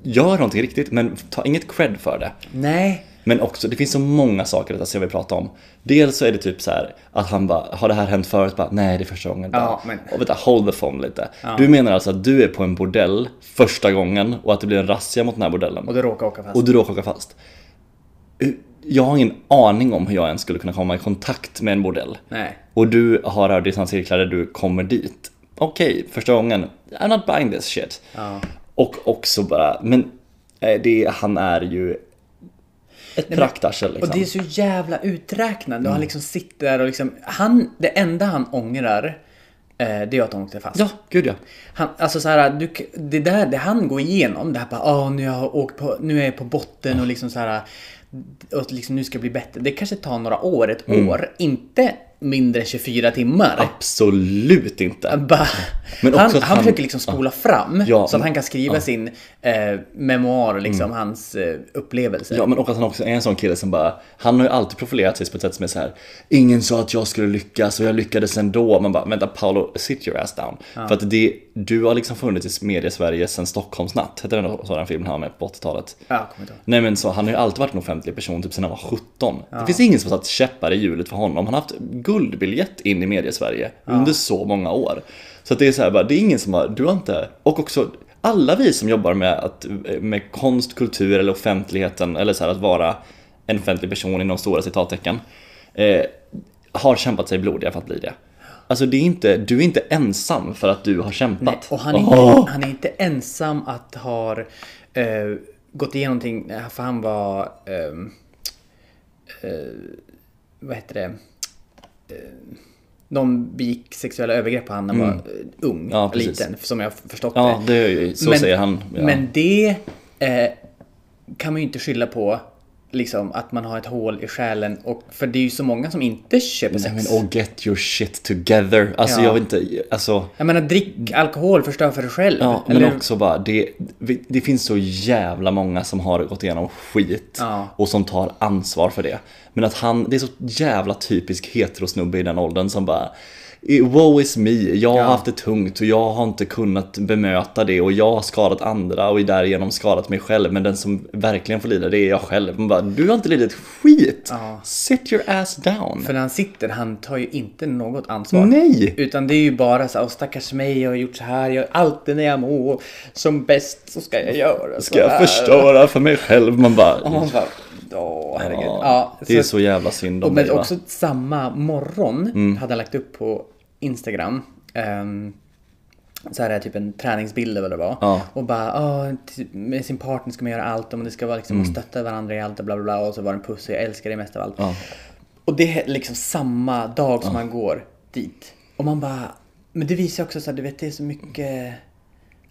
Speaker 2: göra någonting riktigt men ta inget cred för det.
Speaker 1: Nej.
Speaker 2: Men också, det finns så många saker i detta som jag vill prata om. Dels så är det typ så här att han bara, har det här hänt förut? Bara, Nej, det är första gången. Bara,
Speaker 1: Ja, men-
Speaker 2: Och vänta, hold the phone lite. Du menar alltså att du är på en bordell första gången och att det blir en razzia mot den här bordellen?
Speaker 1: Och du råkar åka fast.
Speaker 2: Och du råkar åka fast. Eh, Jag har ingen aning om hur jag ens skulle kunna komma i kontakt med en bordell.
Speaker 1: Nej.
Speaker 2: Och du har rördistanscirklar där du kommer dit. Okej, första gången. I'm not buying this shit. Och också bara, men eh, det, han är ju ett praktarsel
Speaker 1: Och
Speaker 2: liksom.
Speaker 1: det är så jävla uträknande
Speaker 2: Mm.
Speaker 1: och han liksom sitter där och liksom, han, det enda han ångrar eh, det är att han åkte fast.
Speaker 2: Ja, gud ja.
Speaker 1: Han, alltså så här, du, k- det där det han går igenom, det här bara "Ah, nu, har jag åkt på, nu är jag på botten och liksom så här och liksom, nu ska det bli bättre. Det kanske tar några år, ett
Speaker 2: Mm.
Speaker 1: år, inte mindre än 24 timmar.
Speaker 2: Absolut inte.
Speaker 1: Bara,
Speaker 2: Men
Speaker 1: han,
Speaker 2: också
Speaker 1: han,
Speaker 2: att han-
Speaker 1: försöker liksom spola fram
Speaker 2: Ja,
Speaker 1: så att
Speaker 2: men-
Speaker 1: han kan skriva sin eh, memoar, liksom hans eh, upplevelse.
Speaker 2: Ja men och att han också är en sån kille som bara Han har ju alltid profilerat sig på ett sätt som är så här. Ingen sa att jag skulle lyckas och jag lyckades ändå Man bara vänta Paolo, sit your ass down För att det, du har liksom funnits i media-Sverige sen Stockholmsnatt Hette den så den filmen han var med på 80-talet
Speaker 1: Ja, kommer inte ihåg.
Speaker 2: Nej men så han har ju alltid varit en offentlig person typ sen han var 17 Det finns ingen som har satt käppar i hjulet för honom Han har haft guldbiljett in i media-Sverige under så många år Så att det är så här bara, det är ingen som har, du har inte Och också alla vi som jobbar med, att, med konst, kultur eller offentligheten eller så här att vara en offentlig person inom stora citattecken eh, Har kämpat sig blodiga för att bli det Alltså det är inte, du är inte ensam för att du har kämpat
Speaker 1: Och han är,
Speaker 2: Åh!
Speaker 1: inte, han är inte ensam att ha eh, gått igenom någonting, för han var... ehm, eh, vad heter det? Eh, någon begick sexuella övergrepp på han när han var eh, ung,
Speaker 2: Mm. Ja, precis.
Speaker 1: liten, som jag har förstått
Speaker 2: Ja,
Speaker 1: det.
Speaker 2: det är ju, så säger han ja.
Speaker 1: Men det eh, kan man ju inte skylla på liksom, att man har ett hål i själen. Och, för det är ju så många som inte köper
Speaker 2: Nej
Speaker 1: sex.
Speaker 2: men och get your shit together. Alltså
Speaker 1: Ja.
Speaker 2: jag vet inte, alltså.
Speaker 1: Jag menar, drick alkohol, förstör för dig själv.
Speaker 2: Ja, men
Speaker 1: Eller-
Speaker 2: också bara, det, det finns så jävla många som har gått igenom skit
Speaker 1: Ja.
Speaker 2: och som tar ansvar för det. Men att han, det är så jävla typisk heterosnubbe i den åldern som bara "Eh, Woe is me, jag har haft det tungt och jag har inte kunnat bemöta det och jag har skadat andra och därigenom skadat mig själv men den som verkligen får lida det är jag själv. Man bara, du har inte lidit skit! Sit your ass down!
Speaker 1: För när han sitter, han tar ju inte något ansvar.
Speaker 2: Nej!
Speaker 1: Utan det är ju bara så här, "Åh, stackars mig, jag har gjort så här, jag, alltid när jag mår som bäst så ska jag göra
Speaker 2: Ska jag förstöra för mig själv? Man bara...
Speaker 1: Och man bara, åh herregud.
Speaker 2: Ja, det är så jävla synd om
Speaker 1: och, Men
Speaker 2: dig, va? Mm.
Speaker 1: också samma morgon hade han lagt upp på Instagram ehm, så här, typ en träningsbild eller vad det var.
Speaker 2: Ja.
Speaker 1: Och bara, "Åh, ty- med sin partner ska man göra allt och man ska vara liksom, och stötta varandra i allt och bla bla bla. Och så var det en puss och jag älskar dig mest av allt.
Speaker 2: Mm. Ja.
Speaker 1: Och det är liksom samma dag som man går dit. Och man bara, men det visar också så här, du vet det är så mycket,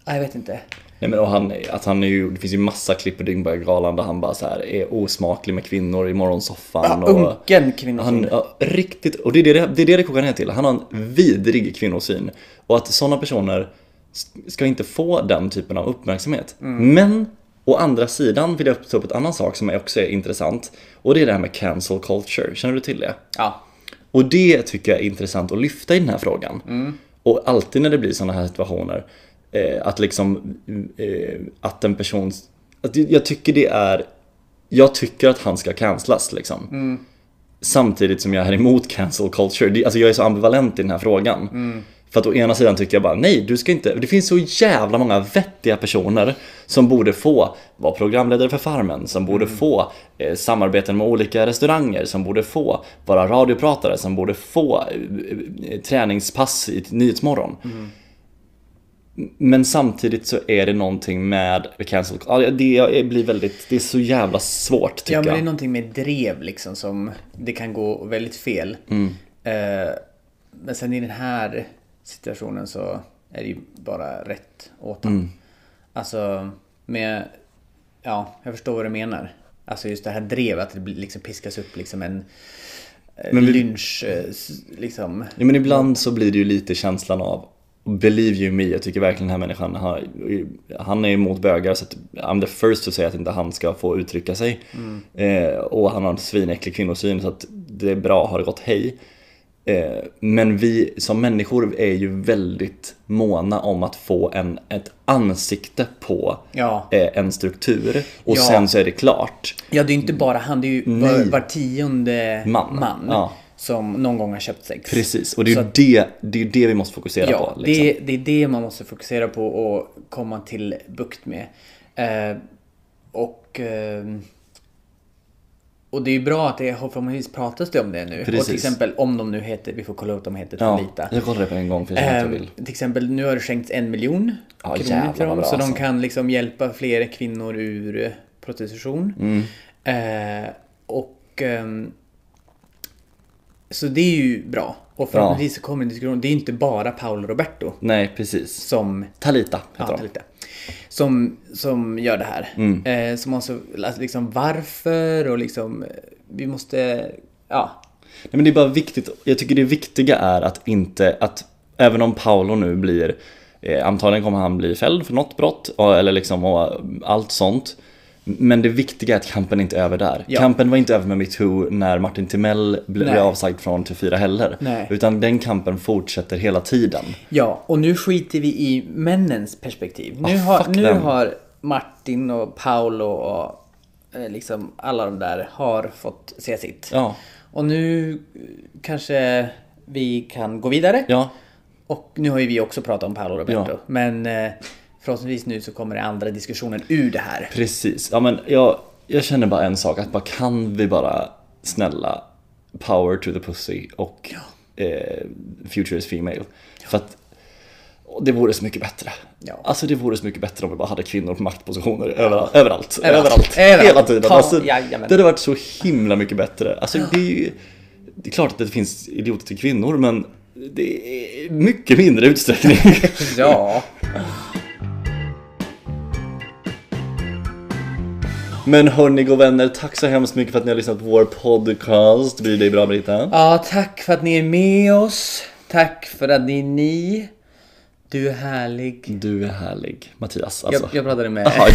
Speaker 1: ja, jag vet inte.
Speaker 2: Nej men och han, att han är ju, det finns ju massa klipp i Dyngberggalan där han bara så här är osmaklig med kvinnor i morgonsoffan.
Speaker 1: Ja,
Speaker 2: och,
Speaker 1: unken kvinnosyn.
Speaker 2: Han, ja, riktigt, och det är det det, är det, det kokar ner till. Han har en vidrig kvinnosyn. Och att sådana personer s- ska inte få den typen av uppmärksamhet.
Speaker 1: Mm.
Speaker 2: Men å andra sidan vill jag ta upp en annan sak som också är intressant. Och det är det här med cancel culture. Känner du till det?
Speaker 1: Ja.
Speaker 2: Och det tycker jag är intressant att lyfta i den här frågan. Och alltid när det blir sådana här situationer, eh, att liksom eh, att en person, att jag- jag tycker det är, jag tycker att han ska cancelas liksom. Samtidigt som jag är emot cancel culture. Det- Alltså jag är så ambivalent i den här frågan.
Speaker 1: Mm.
Speaker 2: För att å ena sidan tycker jag bara nej, du ska inte. Det finns så jävla många vettiga personer som borde få vara programledare för Farmen, som borde
Speaker 1: Mm.
Speaker 2: få eh, samarbeten med olika restauranger, som borde få vara radiopratare, som borde få eh, eh, träningspass i Nyhetsmorgon.
Speaker 1: Mm.
Speaker 2: Men samtidigt så är det någonting med cancel culture. Det jag blir väldigt, det är så jävla svårt tycker
Speaker 1: Ja men
Speaker 2: jag.
Speaker 1: det är någonting med drev liksom som det kan gå väldigt fel.
Speaker 2: Mm.
Speaker 1: Eh, men sen i den här situationen så är det ju bara rätt åt
Speaker 2: Mm.
Speaker 1: honom. Alltså med, ja jag förstår vad du menar. Alltså just det här drevet, att det blir- liksom piskas upp liksom en eh,
Speaker 2: Men vi-
Speaker 1: lynch eh, s- liksom.
Speaker 2: Ja, men ibland så blir det ju lite känslan av Believe you me, jag tycker verkligen den här människan har, Han är emot bögar så att I'm the first to say att inte han ska få uttrycka sig
Speaker 1: Mm.
Speaker 2: eh, Och han har en svinäcklig kvinnosyn så att det är bra, har det gått hej eh, Men vi som människor är ju väldigt måna om att få en, ett ansikte på
Speaker 1: Ja.
Speaker 2: eh, en struktur Och
Speaker 1: Ja.
Speaker 2: sen så är det klart
Speaker 1: Ja, det är ju inte bara han, det är ju var, var tionde
Speaker 2: Mm. Man.
Speaker 1: man,
Speaker 2: Ja.
Speaker 1: som någon gång har köpt sex.
Speaker 2: Precis, och det är
Speaker 1: Så
Speaker 2: ju
Speaker 1: att-
Speaker 2: det, det, är ju det vi måste fokusera
Speaker 1: Ja,
Speaker 2: på liksom.
Speaker 1: det, det är det man måste fokusera på och komma till bukt med. Eh, och, ehm, och det är ju bra att det förhoppningsvis pratas det om det nu. Och
Speaker 2: Precis.
Speaker 1: till exempel om de nu heter, vi får kolla upp de heter
Speaker 2: Ja,
Speaker 1: Lita.
Speaker 2: jag kollar det på en gång för jag känner att jag vill
Speaker 1: Ehm, till exempel nu har det skänkts en miljon
Speaker 2: Ja, jävlar
Speaker 1: kronor
Speaker 2: vad
Speaker 1: till dem.
Speaker 2: bra,
Speaker 1: Så de
Speaker 2: alltså.
Speaker 1: kan liksom hjälpa fler kvinnor ur eh, prostitution.
Speaker 2: Mm.
Speaker 1: Eh, och ehm, så det är ju bra. Och förhoppningsvis så kommer en diskussion. Det är ju inte bara Paolo Roberto
Speaker 2: Nej, precis.
Speaker 1: som
Speaker 2: Talita heter
Speaker 1: ja,
Speaker 2: hon.
Speaker 1: lite. Som, som gör det här.
Speaker 2: Mm.
Speaker 1: Eh, som också, alltså, liksom varför och liksom, eh, vi måste, ja.
Speaker 2: Nej, men det är bara viktigt. Jag tycker det viktiga är att inte, att även om Paolo nu blir, eh, antagligen kommer han bli fälld för något brott och, eller liksom och, allt sånt. Men det viktiga är att kampen inte är över där.
Speaker 1: Ja.
Speaker 2: Kampen var inte över med metoo när Martin Timell ble- blev
Speaker 1: Nej.
Speaker 2: avsagd från TV4 heller.
Speaker 1: Nej.
Speaker 2: Utan den kampen fortsätter hela tiden.
Speaker 1: Ja, och nu skiter vi i männens perspektiv. Nu,
Speaker 2: Ah,
Speaker 1: har,
Speaker 2: fuck
Speaker 1: nu
Speaker 2: them.
Speaker 1: har Martin och Paolo och eh, liksom alla de där har fått se sitt.
Speaker 2: Ja.
Speaker 1: Och nu eh, kanske vi kan gå vidare.
Speaker 2: Ja,
Speaker 1: Och nu har ju vi också pratat om Paolo Roberto.
Speaker 2: Ja.
Speaker 1: Men eh, förhoppningsvis nu så kommer det andra diskussionen ur det här.
Speaker 2: Precis. Ja, men jag, jag känner bara en sak, att bara kan vi bara snälla power to the pussy och eh, future is female. För att och det vore så mycket bättre.
Speaker 1: Ja.
Speaker 2: Alltså det vore så mycket bättre om vi bara hade kvinnor på maktpositioner överallt. Överallt. överallt.
Speaker 1: Överallt.
Speaker 2: Hela tiden.
Speaker 1: Ta-
Speaker 2: alltså,
Speaker 1: jajamän.
Speaker 2: det hade varit så himla mycket bättre. Alltså det är ju, det är klart att det finns idioter till kvinnor men det är mycket mindre utsträckning.
Speaker 1: Ja.
Speaker 2: men hörni och vänner, tack så hemskt mycket för att ni har lyssnat på vår podcast. Blir dig bra Britta?
Speaker 1: ja, tack för att ni är med oss. Tack för att ni är ni. Du är härlig.
Speaker 2: Du är härlig, Mattias.
Speaker 1: Jag,
Speaker 2: Alltså.
Speaker 1: jag pratade med...
Speaker 2: Ja,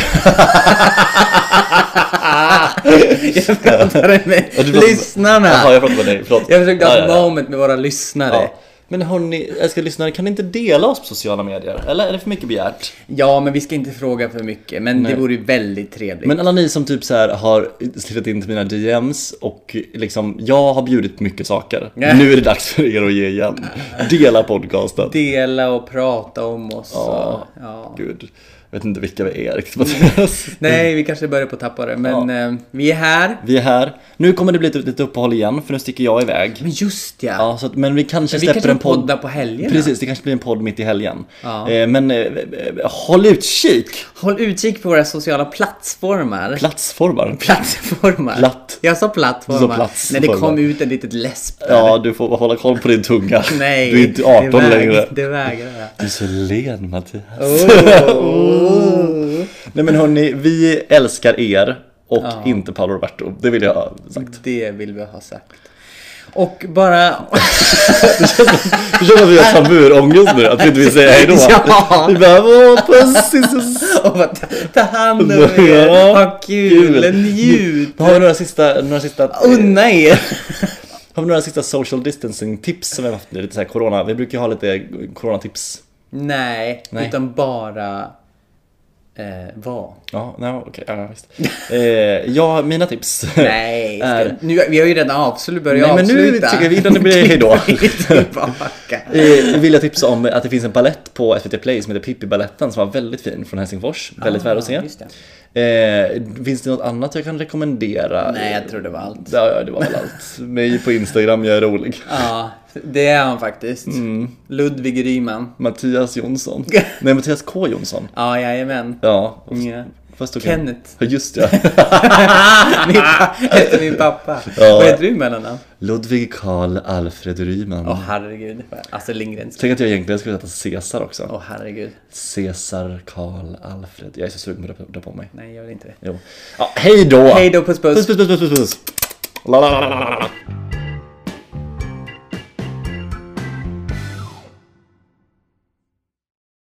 Speaker 1: jag pratade med
Speaker 2: ja, du pratar-
Speaker 1: lyssnarna.
Speaker 2: Jaha,
Speaker 1: jag,
Speaker 2: jag pratar med dig. Förlåt.
Speaker 1: försökte ha ett moment med våra lyssnare.
Speaker 2: Ja.
Speaker 1: Ja.
Speaker 2: Men hörni, älskade lyssnare, kan ni inte dela oss på sociala medier? Eller är det för mycket begärt?
Speaker 1: men vi ska inte fråga för mycket. Men
Speaker 2: Nej.
Speaker 1: det vore ju väldigt trevligt.
Speaker 2: Men alla ni som typ så här har slittit in till mina DMs och liksom, jag har bjudit på mycket saker.
Speaker 1: Ja.
Speaker 2: Nu är det dags för er att ge igen. Dela podcasten.
Speaker 1: Dela och prata om oss. och-
Speaker 2: Ja,
Speaker 1: ja.
Speaker 2: gud. vet inte vilka vi är riktigt Mattias.
Speaker 1: Nej, vi kanske börjar på att tappa det, men eh, vi är här.
Speaker 2: Vi är här. Nu kommer det bli ett litet uppehåll igen för nu sticker jag iväg.
Speaker 1: Men just ja!
Speaker 2: Ja, så att, men vi kanske
Speaker 1: Men vi
Speaker 2: släpper
Speaker 1: kanske
Speaker 2: en podd.
Speaker 1: poddar på helgerna.
Speaker 2: Precis, det kanske blir en podd mitt i helgen.
Speaker 1: Ja.
Speaker 2: Eh, men eh, eh, håll utkik!
Speaker 1: Håll utkik på våra sociala plattformar.
Speaker 2: Platsformar.
Speaker 1: plattformar.
Speaker 2: Platt.
Speaker 1: Jag sa
Speaker 2: Du
Speaker 1: plattformar. När
Speaker 2: sa plattformar.
Speaker 1: det kom ut en litet läsp där.
Speaker 2: Ja, du får hålla koll på din tunga.
Speaker 1: Nej,
Speaker 2: du är inte 18
Speaker 1: det väg-
Speaker 2: längre.
Speaker 1: Det vägrar jag.
Speaker 2: Du är så len Mattias. Oh.
Speaker 1: Oh.
Speaker 2: Nej men hörni, vi älskar er och inte Paolo Roberto. Det vill jag ha sagt.
Speaker 1: Det vill vi ha sagt. Och bara...
Speaker 2: Jag känner att vi har tamburångest nu, att vi inte vill säga hejdå.
Speaker 1: Ja.
Speaker 2: Vi bara åh puss, puss, puss.
Speaker 1: Och bara, ta, ta hand om er,
Speaker 2: Ja,
Speaker 1: ha kul, njut,
Speaker 2: Har vi några sista, några sista, eh,
Speaker 1: unna er.
Speaker 2: har vi några sista social distancing tips som vi har haft nu? Lite så här corona, vi brukar ju ha lite coronatips.
Speaker 1: Nej,
Speaker 2: Nej.
Speaker 1: utan bara eh, vara.
Speaker 2: Ja, nej, okej, ja visst. Eh, ja, mina tips.
Speaker 1: Nej, ska,
Speaker 2: är-
Speaker 1: nu, vi har ju redan avslutat, nu börjar
Speaker 2: Nej,
Speaker 1: jag
Speaker 2: men nu
Speaker 1: avsluta.
Speaker 2: tycker vi- innan det blir hejdå.
Speaker 1: Tillbaka.
Speaker 2: Eh, vill jag tipsa om att det finns en ballett på SVT Play som heter Pippi-balletten som var väldigt fin från Helsingfors. Väldigt värd att se.
Speaker 1: Ah, just
Speaker 2: Eh, finns det något annat jag kan rekommendera?
Speaker 1: Nej, jag tror det var allt.
Speaker 2: Ja, ja, det var väl allt. Mig på Instagram, jag är rolig.
Speaker 1: Ja, det är han faktiskt. Ludvig Ryman.
Speaker 2: Mattias Jonsson. Nej, Mattias K Jonsson.
Speaker 1: Ja, jajamän.
Speaker 2: Ja.
Speaker 1: Ja.
Speaker 2: Fast okej.
Speaker 1: Kenneth.
Speaker 2: Ja, just ja.
Speaker 1: Min pa- Efter min pappa.
Speaker 2: Ja.
Speaker 1: Vad heter du i mellannamn?
Speaker 2: Ludvig Karl Alfred Ryman.
Speaker 1: Åh herregud. Astrid Lindgrens.
Speaker 2: Tänk att jag egentligen skulle heta Cesar också.
Speaker 1: Åh herregud.
Speaker 2: Cesar Karl Alfred. Jag är så sugen på att dra på mig.
Speaker 1: Nej, gör inte det.
Speaker 2: Jo. Ja, hej då!
Speaker 1: Hej då, puss puss.
Speaker 2: Puss, puss, puss, puss, puss. La, la, la, la, la, la.